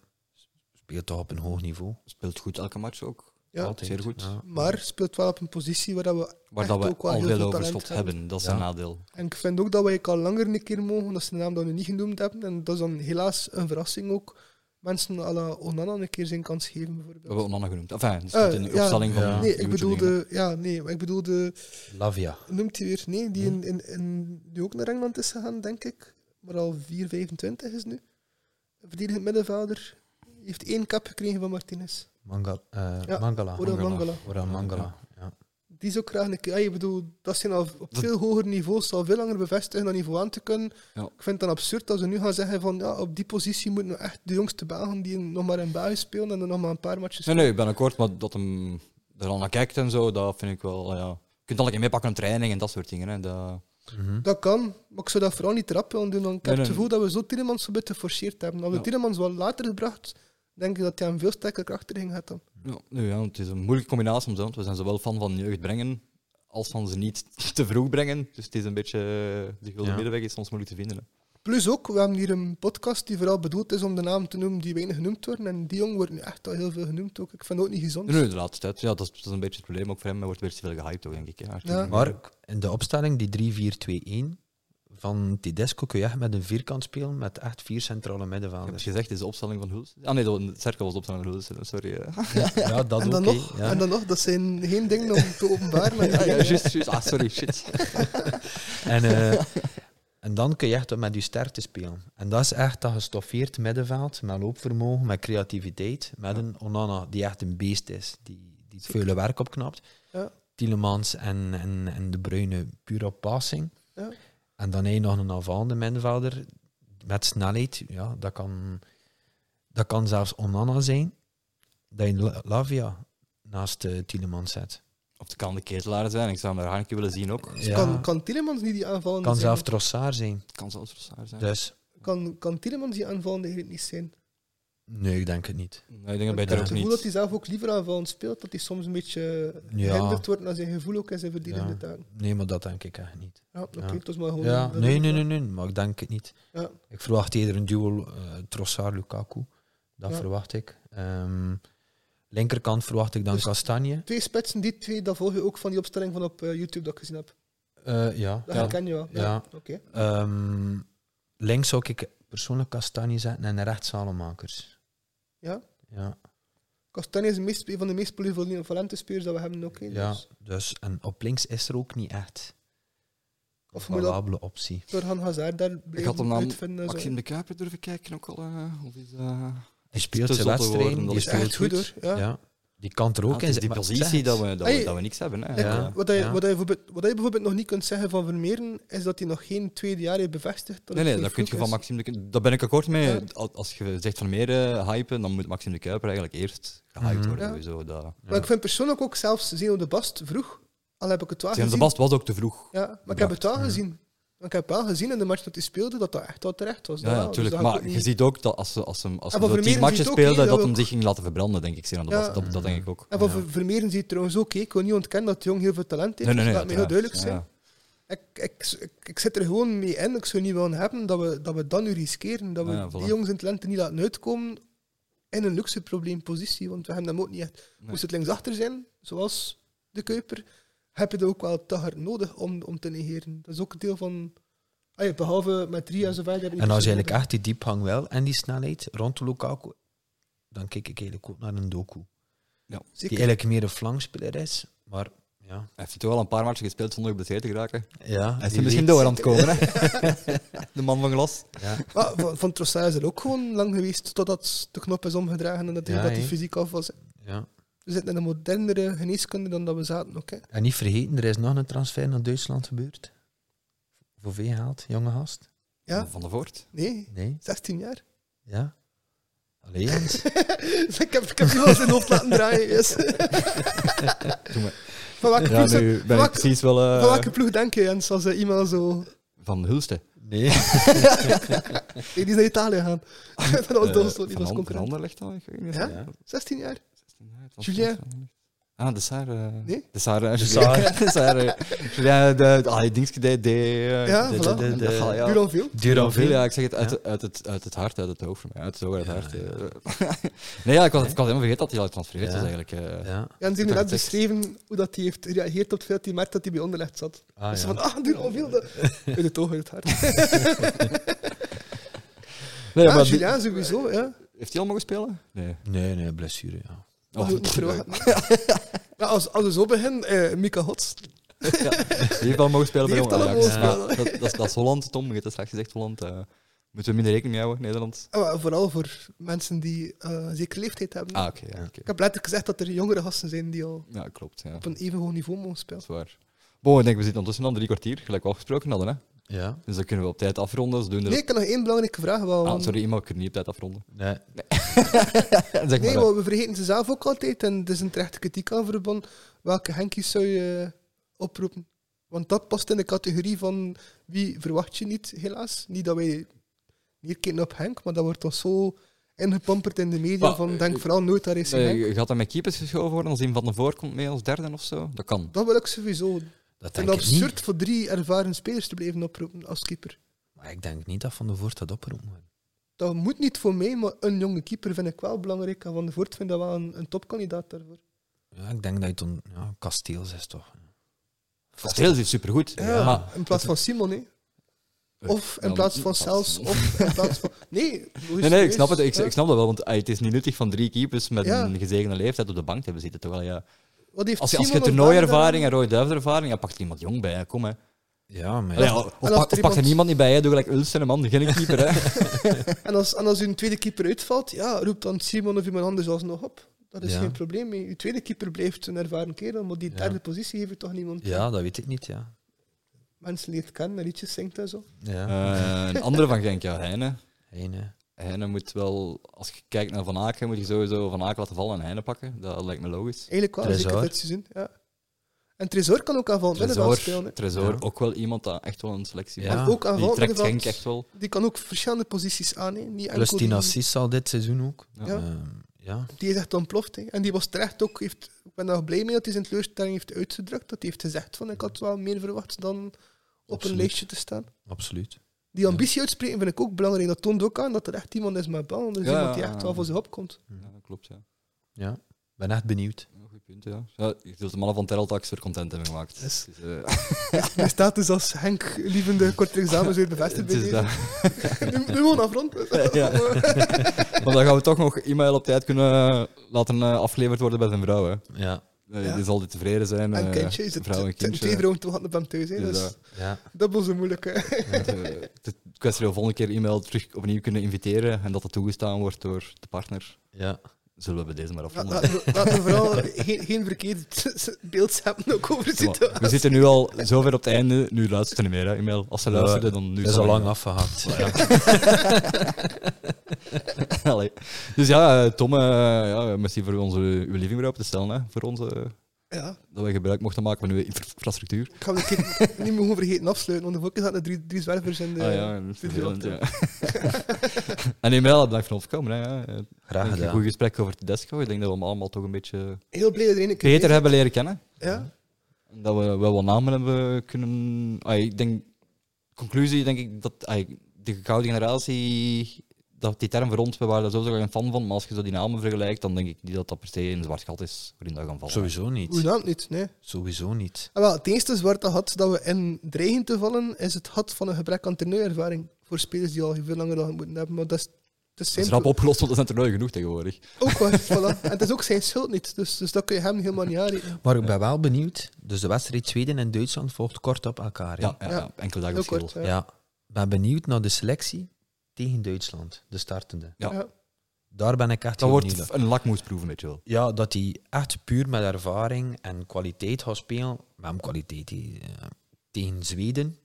Speelt toch op een hoog niveau. Speelt goed elke match ook. Ja. Altijd. Zeer goed. Ja. Maar speelt wel op een positie waar dat we. Waar Echt dat we ook wel al heel veel veel overschot talent hebben. hebben. Dat is Ja. een nadeel. En ik vind ook dat wij al langer een keer mogen, dat is de naam dat we niet genoemd hebben. En dat is dan helaas een verrassing ook. Mensen à la Onana een keer zijn kans geven, We bijvoorbeeld. hebben Onana genoemd. Enfin, het is Eh, niet in de ja. opstelling van... Ja. de Nee, ik goed dingen. bedoelde. Ja, nee, maar ik bedoelde. Lavia. Noemt hij weer? Nee, die, in, in, in, die ook naar Engeland is gegaan, denk ik. Maar al 4,25 is nu. Een Verdedigend middenvelder. Heeft één kap gekregen van Martinez. Mangal, eh, Ja, Mangala. Oran Mangala. Mangala. Oran Mangala. Ja. Die zou ik graag een keer. ja, Ik bedoel, dat zijn al op veel hoger niveaus, al veel langer bevestigen dan niveau aan te kunnen. Ja. Ik vind het dan absurd dat ze nu gaan zeggen van ja, op die positie moeten we echt de jongste Belgen die nog maar in België spelen en dan nog maar een paar matches Nee, nee, ik ben akkoord, maar dat hem er al naar kijkt en zo, dat vind ik wel... ah Ja. Je kunt al een keer meepakken aan training en dat soort dingen. Hè. Dat... Mhm. Dat kan, maar ik zou dat vooral niet rap willen doen. Want ik Nee, heb het nee. gevoel dat we zo Tielemans een beetje geforceerd hebben. Als we Ja. Tielemans wel later gebracht, denk ik dat hij hem veel sterker krachten ging had dan. Ja, nu, ja, het is een moeilijke combinatie om zo, want we zijn zowel fan van jeugd brengen, als van ze niet te vroeg brengen. Dus het is een beetje... eh, De gulden Ja. middenweg is soms moeilijk te vinden. hè. Plus ook, we hebben hier een podcast die vooral bedoeld is om de naam te noemen die weinig genoemd worden. En die jong wordt nu echt al heel veel genoemd ook. Ik vind het ook niet gezond. Nee, nee, de laatste tijd. Ja, dat is, dat is een beetje het probleem ook voor hem. Hij wordt weer te veel gehyped, ook, denk ik. Ja. Ja. Maar in de opstelling, die 3-4-2-1 van Tedesco, kun je echt met een vierkant spelen met echt vier centrale Ik heb het middenvelders. gezegd, is de opstelling van Huls. Ah nee, de cirkel was de opstelling van Huls. Sorry. eh. Ja, dat en, ook. dan hè. nog, ja. en dan nog, dat zijn geen dingen om te openbaren. maar- Ja, ja, juist, juist. Ah, sorry, shit. En, eh, en dan kun je echt met je sterkte spelen. En dat is echt dat gestoffeerd middenveld, met loopvermogen, met creativiteit, met een Onana die echt een beest is, die, die het vuile werk opknapt. Ja. Tielemans en, en, en De Bruyne puur op passing. Ja. En dan heb je nog een aanvallende middenvelder met snelheid. Ja, dat, kan, dat kan zelfs Onana zijn, dat je La- Lavia naast eh, Tielemans zet. Of het kan de ketelaren zijn. Ik zou hem daar Haneke willen zien ook. Dus Kan, kan Tielemans niet die aanvallende kan zijn? zelfs Trossard zijn. Het kan zelfs Rossaar zijn. Dus Kan, kan Tielemans die aanvallende eigenlijk niet zijn? nee, ik denk het niet. Nee, ik denk dat bij ik Dirk heb het gevoel dat hij niet. zelf ook liever aanvallend speelt. Dat hij soms een beetje Ja. gehinderd wordt naar zijn gevoel ook en zijn verdedigende Ja. taken. Nee, maar dat denk ik echt niet. Ja, oké, Ja. het was maar gewoon... eh, Ja, dat nee, ik- nee, nee, nee, maar ik denk het niet. Ja. Ik verwacht eerder een duel eh Trossard-Lukaku. Dat Ja. verwacht ik. Ehm, linkerkant verwacht ik dan Dus- Kastanje. Twee spitsen, die twee, dat volg je ook van die opstelling van op eh, YouTube dat ik gezien heb. Eh, ja. Dat Ja. herken je wel. Ja. Ja. Oké. Ehm, links zou ik persoonlijk Kastanje zetten en rechts Salemakers. Ja? Ja, Castagne is de meest, een van de meest polyvalente spelers dat we hebben ook. hè, ja, Dus, dus en op links is er ook niet echt een of moet dat valabele optie. Torhan Hazard daar blijven Ik had hem aan uitvinden? zo. Maxime de Kuiper durven kijken ook al. eh, of is, eh, Hij speelt te zijn zot te worden, wedstrijden, dat die is echt speelt goed, goed. hoor. Ja. Ja. Die kan er ook ah, het in is zitten, die maar ik zeg positie het. dat we, dat, we, Hey. dat we niks hebben. Hè. Kijk, Ja. wat, hij, Ja. wat, hij bijvoorbeeld, wat hij bijvoorbeeld nog niet kunt zeggen van Vermeeren, is dat hij nog geen tweede jaar heeft bevestigd. Dat Nee, het nee, dat voor kun je vroeg van is. Maxime de Kuiper. Daar ben ik akkoord mee. Ja. Al- Als je zegt van meer eh, hypen, dan moet Maxime de Kuiper eigenlijk eerst gehyped Mhm. worden. Ja. Ah, Sowieso. Dat... Maar ik vind persoonlijk ook zelfs Zeno de Bast vroeg, al heb ik het wel Tegen de gezien. Bast was ook te vroeg. Ja, maar ik heb het wel gezien. Maar Ik heb wel gezien in de match dat hij speelde dat dat echt wel terecht was. Ja, Dat wel. Dus natuurlijk. dat maar ik ook je niet- ziet ook dat als ze als hem, als hem En van zo tien Vermeeren matchen ziet ook, hè, speelden, dat dat hem ook- zich ging laten verbranden, denk ik. Sinan de Ja. Bast. Dat, dat denk ik ook. En van Ver- Vermeeren ziet trouwens ook, hè. ik wil niet ontkennen dat de jong heel veel talent Nee, heeft. nee, nee. dus laat me heel uiteraard. duidelijk zijn. Ja. Ik, ik, ik, ik zit er gewoon mee in. Ik zou niet willen hebben dat we dat, we dat nu riskeren. Dat we Ja, voilà. die jongens in talenten niet laten uitkomen in een luxe probleempositie. Want we hebben hem ook niet echt. Nee. Moest het linksachter zijn, zoals de Kuiper, heb je dat ook wel te hard nodig om, om te negeren. Dat is ook een deel van... Ah ja, behalve met drie en zo verder. heb je niet En als je zoveel eigenlijk echt die diepgang wel en die snelheid rond de Lukaku, dan kijk ik eigenlijk ook naar een Doku. nodig. Die Zeker. eigenlijk meer een flankspeler is, maar ja. Hij heeft toch wel een paar matchen gespeeld zonder geblesseerd te geraken. ja Hij is wie er misschien weet. door aan het komen, hè? De man van glas. Ja. Maar Ah, van, van Trossard is er ook gewoon lang geweest totdat de knop is omgedragen en dat hij, Ja, dat hij hè. fysiek af was. Ja. We zitten in een modernere geneeskunde dan dat we zaten ook. Hè. En niet vergeten, er is nog een transfer naar Duitsland gebeurd. Voor wie gehaald, jonge gast? Ja. Van de Voort. Nee, Nee, 16 jaar. ja. Allee, Jens. ik heb, ik heb iemand zijn hoofd laten draaien. yes. van, welke Ja, ploeg, zat- nu ben ik welke- precies wel... eh, van welke ploeg denk je, Jens, als eh, iemand zo... Van Hulste. Nee. Nee, die is naar Italië gaan. dat was Eh, Duitsland, van An- die was Van concurrent. Anderlecht dan, ik weet niet. Ja? Ja, 16 jaar? 16 jaar, het was Julien. van Anderlecht. Ah, de Saar. eh, Nee? De Saar. eh, De Julien. Saar. De Saar. eh, Julien, de... Ah, die dingetje, die... die, eh, Ja, die- voilà. die- die- die- De- ja. Duur al veel. Duranville, Duranville. ja, ik zeg het uit, Ja. uit, het, uit het hart, uit het hoofd. maar Uit het oog, uit het hart. eh. nee, ja, ik, was, ik was helemaal vergeten dat hij al getransfereerd Ja. was eigenlijk. eh. Ja. Jens Dat heeft net tekst. beschreven hoe dat hij heeft gereageerd op het feit dat hij merkte dat hij bij onderlegd zat. Ah, dus ja. van, ah, duur al veel. dat- Uit het oog, uit het hart. Nee, ja, maar die- Oh, Julien sowieso, ja. heeft hij al mogen spelen? Nee. Nee, nee, blessure, ja. Dat moet ik niet verwachten. Ja, als, als we zo beginnen, eh Mika Hots. Die heeft al mogen spelen Die bij heeft Jong al Ajax. mogen Ja, spelen. dat, dat, is- dat is Holland, Tom. Je hebt het straks gezegd, Holland. eh, moeten we minder rekening mee houden, Nederland? Ah, maar vooral voor mensen die eh, een zekere leeftijd hebben. Ah, oké. ja, Ja. oké. Ik heb letterlijk gezegd dat er jongere gasten zijn die al ja, klopt. Ja. op een even hoog niveau mogen spelen. Dat is waar. Bon, ik denk, we zitten ondertussen al drie kwartier, gelijk we afgesproken hadden. Hè? Ja. Dus dan kunnen we op tijd afronden. Ze doen er... Nee, ik heb nog één belangrijke vraag. Wel, ah, want- sorry, iemand kan niet op tijd afronden. Nee. zeg maar, Nee, eh, want we vergeten ze zelf ook altijd. En het is een terechte kritiek aan verbonden. Welke Henkies zou je eh, oproepen? Want dat past in de categorie van wie verwacht je niet, helaas. Niet dat wij neerkijken op Henk, maar dat wordt toch zo ingepamperd in de media Maar, van eh, denk vooral nooit daar is nee, eh, Henk. gaat dat met keepers geschoven worden? Als een van de voor komt mee als derde of zo? Dat kan. Dat wil ik sowieso. Dat Het denk is ik niet. absurd voor drie ervaren spelers te blijven oproepen als keeper. Maar ik denk niet dat Van de Voort dat oproept. man. Dat moet niet voor mij, maar een jonge keeper vind ik wel belangrijk. En Van de Voort vind dat wel een, een topkandidaat daarvoor. Ja, ik denk dat je toen... Ja, Kasteels is toch... Kasteel is supergoed. Ja. Maar In plaats van Simon, hè. Of in Eh, Ja, plaats van dat- zelfs, of in plaats van... Nee, hoe is Nee, nee, ik serieus? snap het. Ik, Ja. ik snap dat wel, want ah, het is niet nuttig van drie keepers met Ja. een gezegende leeftijd op de bank te hebben zitten. Terwijl, ja, Wat heeft als, je- als je Simon nog toernooiervaring daar en rode duivelervaring, ja, pakt er iemand jong bij. Hè. Kom, hè. Ja, maar... Allee, ja, ja. of, als pak- er of pakt er iemand- niemand niet bij, hè. doe gelijk Ulsen, man, geen keeper. Hè. gedaan? En als, en als uw tweede keeper uitvalt, ja, roep dan Simon of iemand anders alsnog op. Dat is Ja. geen probleem mee. Uw tweede keeper blijft een ervaren kerel, maar die Ja. derde positie heeft toch niemand. ja, dat weet ik niet, ja. Mensen leert kennen, liedjes zingt en zo. Ja. Eh, een andere van Genk, ja, Heine. Heen, hè. Heine moet wel, als je kijkt naar Van Aken, moet je sowieso Van Aken laten vallen en Heine pakken. Dat lijkt me logisch. Eigenlijk wel, zeker Trezor. dit seizoen. Ja. En Tresor kan ook aanvallend middenveld spelen. Tresor, hè. Tresor Ja. ook wel iemand dat echt wel een selectie Ja. maakt. En ook Die aanvallend trekt Genk middenveld. echt wel. Die kan ook verschillende posities aan. hè. Niet Plus enkel die- tien assists al dit seizoen ook. Ja. Ja. Ehm, ja. Die is echt ontploft. Hè. En die was terecht ook. Heeft, ik ben daar blij mee dat hij zijn teleurstelling heeft uitgedrukt. Dat hij heeft gezegd van ik had wel meer verwacht dan op een Absoluut. lijstje te staan. Absoluut. Die ambitie uitspreken vind ik ook belangrijk. Dat toont ook aan dat er echt iemand is met bal. Dus Ja, iemand die ja, echt ja. wel voor zich opkomt. Ja, dat klopt, ja. Ja. Ben echt benieuwd. Ja, Goed punt, ja. ja. Je zult de mannen van Terreltax voor content hebben gemaakt. Yes. Dus, eh, Mijn status dus als Henk lievende korte examens weer het bevestigd bij is dat. deze. Nu, nu gewoon afrond. Ja. Want dan gaan we toch nog e-mail op tijd kunnen laten eh, afgeleverd worden bij zijn vrouw. Hè. Ja. Eh, Ja. Die zal dit tevreden zijn. En eh, kindje is het. Vrouw en het- het- kindje. Twee vrouwen te op hem thuis. Hè. Dus, Dus eh, Ja. dubbel zo moeilijk. hè. het, eh, het is een kwestie dat we volgende keer e-mail terug opnieuw kunnen inviteren en dat dat toegestaan wordt door de partner. Ja. Zullen we bij deze maar Laat- afronden. Laten we- laten we vooral geen, geen verkeerd beeld hebben ook over de Zeg maar, situatie. we zitten nu al zo ver op het einde. Nu luistert er niet meer, hè, e-mail. Als ze Ja, luisteren, dan nu is zal al ik- lang afgehakt. Ja. Allee. Dus ja, eh, Tom, eh, ja, merci voor onze, uw living weer op te stellen. Hè, voor onze, Ja, dat we gebruik mochten maken van uw infrastructuur. ik ga het een keer niet meer gewoon vergeten afsluiten, want de focus zaten de drie, drie zwervers in de... ah ja, dat is dit vervelend, wel ja. en Emel, bedankt voor het opkomen. Hè. ja. Ik Graag denk Een Ah, gedaan. goed gesprek over Tedesco. Ik denk dat we hem allemaal toch een beetje Heel blij dat er een keer beter hebben leren kennen. is. Ja? En Dat we wel wat namen hebben kunnen... Ah, ik denk... Conclusie, denk ik, dat ah, de gouden generatie... Dat die term voor ons, we waren daar sowieso geen fan van. Maar als je zo die namen vergelijkt, dan denk ik niet dat dat per se een zwart gat is waarin dat gaan vallen. Sowieso Hoe niet. dan niet, nee. Sowieso niet. Ah, wel, het eerste zwarte gat dat we in dreigen te vallen, is het gat van een gebrek aan toernooiervaring voor spelers die al veel langer dan moeten hebben, maar dat is... Het is Dat zijn is rap opgelost, want er zijn toernooien genoeg tegenwoordig. Ook wel, voilà. En het is ook zijn schuld niet, dus, dus dat kun je hem helemaal niet aanrekenen. Maar ik ben wel benieuwd. Dus de wedstrijd Zweden en Duitsland volgt kort op elkaar. hè? Ja, ja, Ja. ja, enkele dagen Heel verschil. kort. Ja. Ja. Ik ben benieuwd naar de selectie tegen Duitsland, de startende. Ja. Ja. Daar ben ik echt Dat heel wordt benieuwd naar. f- een lakmoesproef, weet je wel. Ja, dat hij echt puur met ervaring en kwaliteit gaat spelen. Met hem kwaliteit die, eh, tegen Zweden.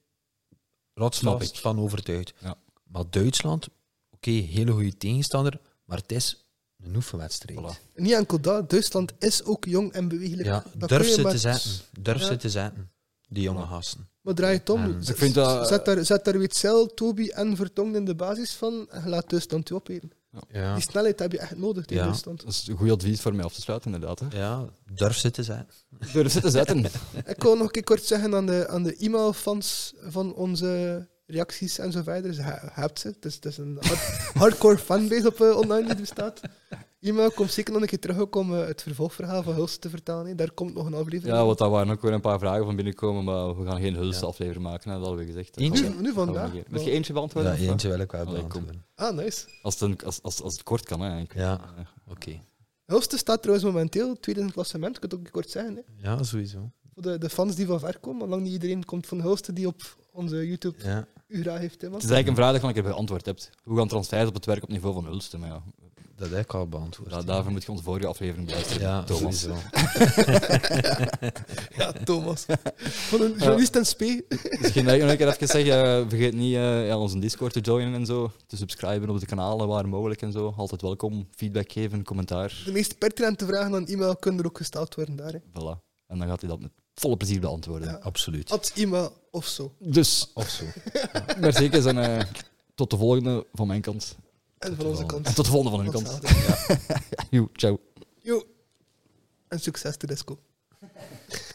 Snap Rotsvast ik. van overtuigd. Ja. Maar Duitsland, oké, hele goede tegenstander. Maar het is een oefenwedstrijd. Voilà. Niet enkel dat, Duitsland is ook jong en bewegelijk. Ja, Dat durf kun je ze maar- te zetten. Durf Ja. ze te zetten. Die jonge Voilà. gasten. Maar draai het om. En- Z- Ik vind dat- zet, daar, zet daar Witzel, Toby en Vertongen in de basis van en laat Duitsland u opeten. Ja. Die snelheid heb je echt nodig tegen Ja. Duitsland. Dat is een goed advies voor mij af te sluiten, inderdaad. Hè. ja, durf ze te zetten. Durf zitten zetten. Ik wil nog een keer kort zeggen aan de, aan de e-mailfans van onze reacties en zo verder. Ze he- hebt ze. Het is, het is een hard- hardcore fanbase op eh, online die er staat. E-mail komt zeker nog een keer terug ook om eh, het vervolgverhaal van Hulst te vertellen. hè. Daar komt nog een aflevering. Ja, want daar waren ook weer een paar vragen van binnenkomen, maar we gaan geen hulst Ja. aflevering maken, hè, dat hadden we gezegd. Dat Eentje? gaan nu, nu we- dat gaan we vandaag. negeren. Wil je eentje beantwoorden? Ja, of, eh, eentje wil ik wel Allee, kom. beantwoorden. Ah, nice. Als het, een- als, als, als het kort kan, hè, eigenlijk. Ja, oké. Hulst staat trouwens momenteel tweede in het klassement. Ik kan het ook kort zeggen. Hè. Ja, sowieso. Voor de, de fans die van ver komen. maar Lang niet iedereen komt van Hulst die op onze YouTube Ja. URA heeft. Hè, man. Het is eigenlijk een vraag dat je nog een keer beantwoord hebt. Hoe gaan transfers op het werk op niveau van Hulst? Maar ja, Dat heb ik al beantwoord. da- daarvoor moet je onze vorige aflevering beluisteren, ja, Thomas. sowieso. Ja, Thomas. Van een journalist en spe. Misschien dat ik Dus nog een keer even zeggen, eh, vergeet niet eh, ja, onze Discord te joinen en zo. Te subscriben op de kanalen waar mogelijk en zo. Altijd welkom. Feedback geven, commentaar. De meest pertinente vragen aan e-mail kunnen er ook gesteld worden daar. Hè. Voilà. En dan gaat hij dat met volle plezier beantwoorden. Ja. Absoluut. At e-mail of zo. Dus, Of zo. mercedes en eh, tot de volgende van mijn kant. En van onze kant. En tot de volgende van hun Tot kant. zaterdag. Joe, ciao. Yo. En succes, Tedesco.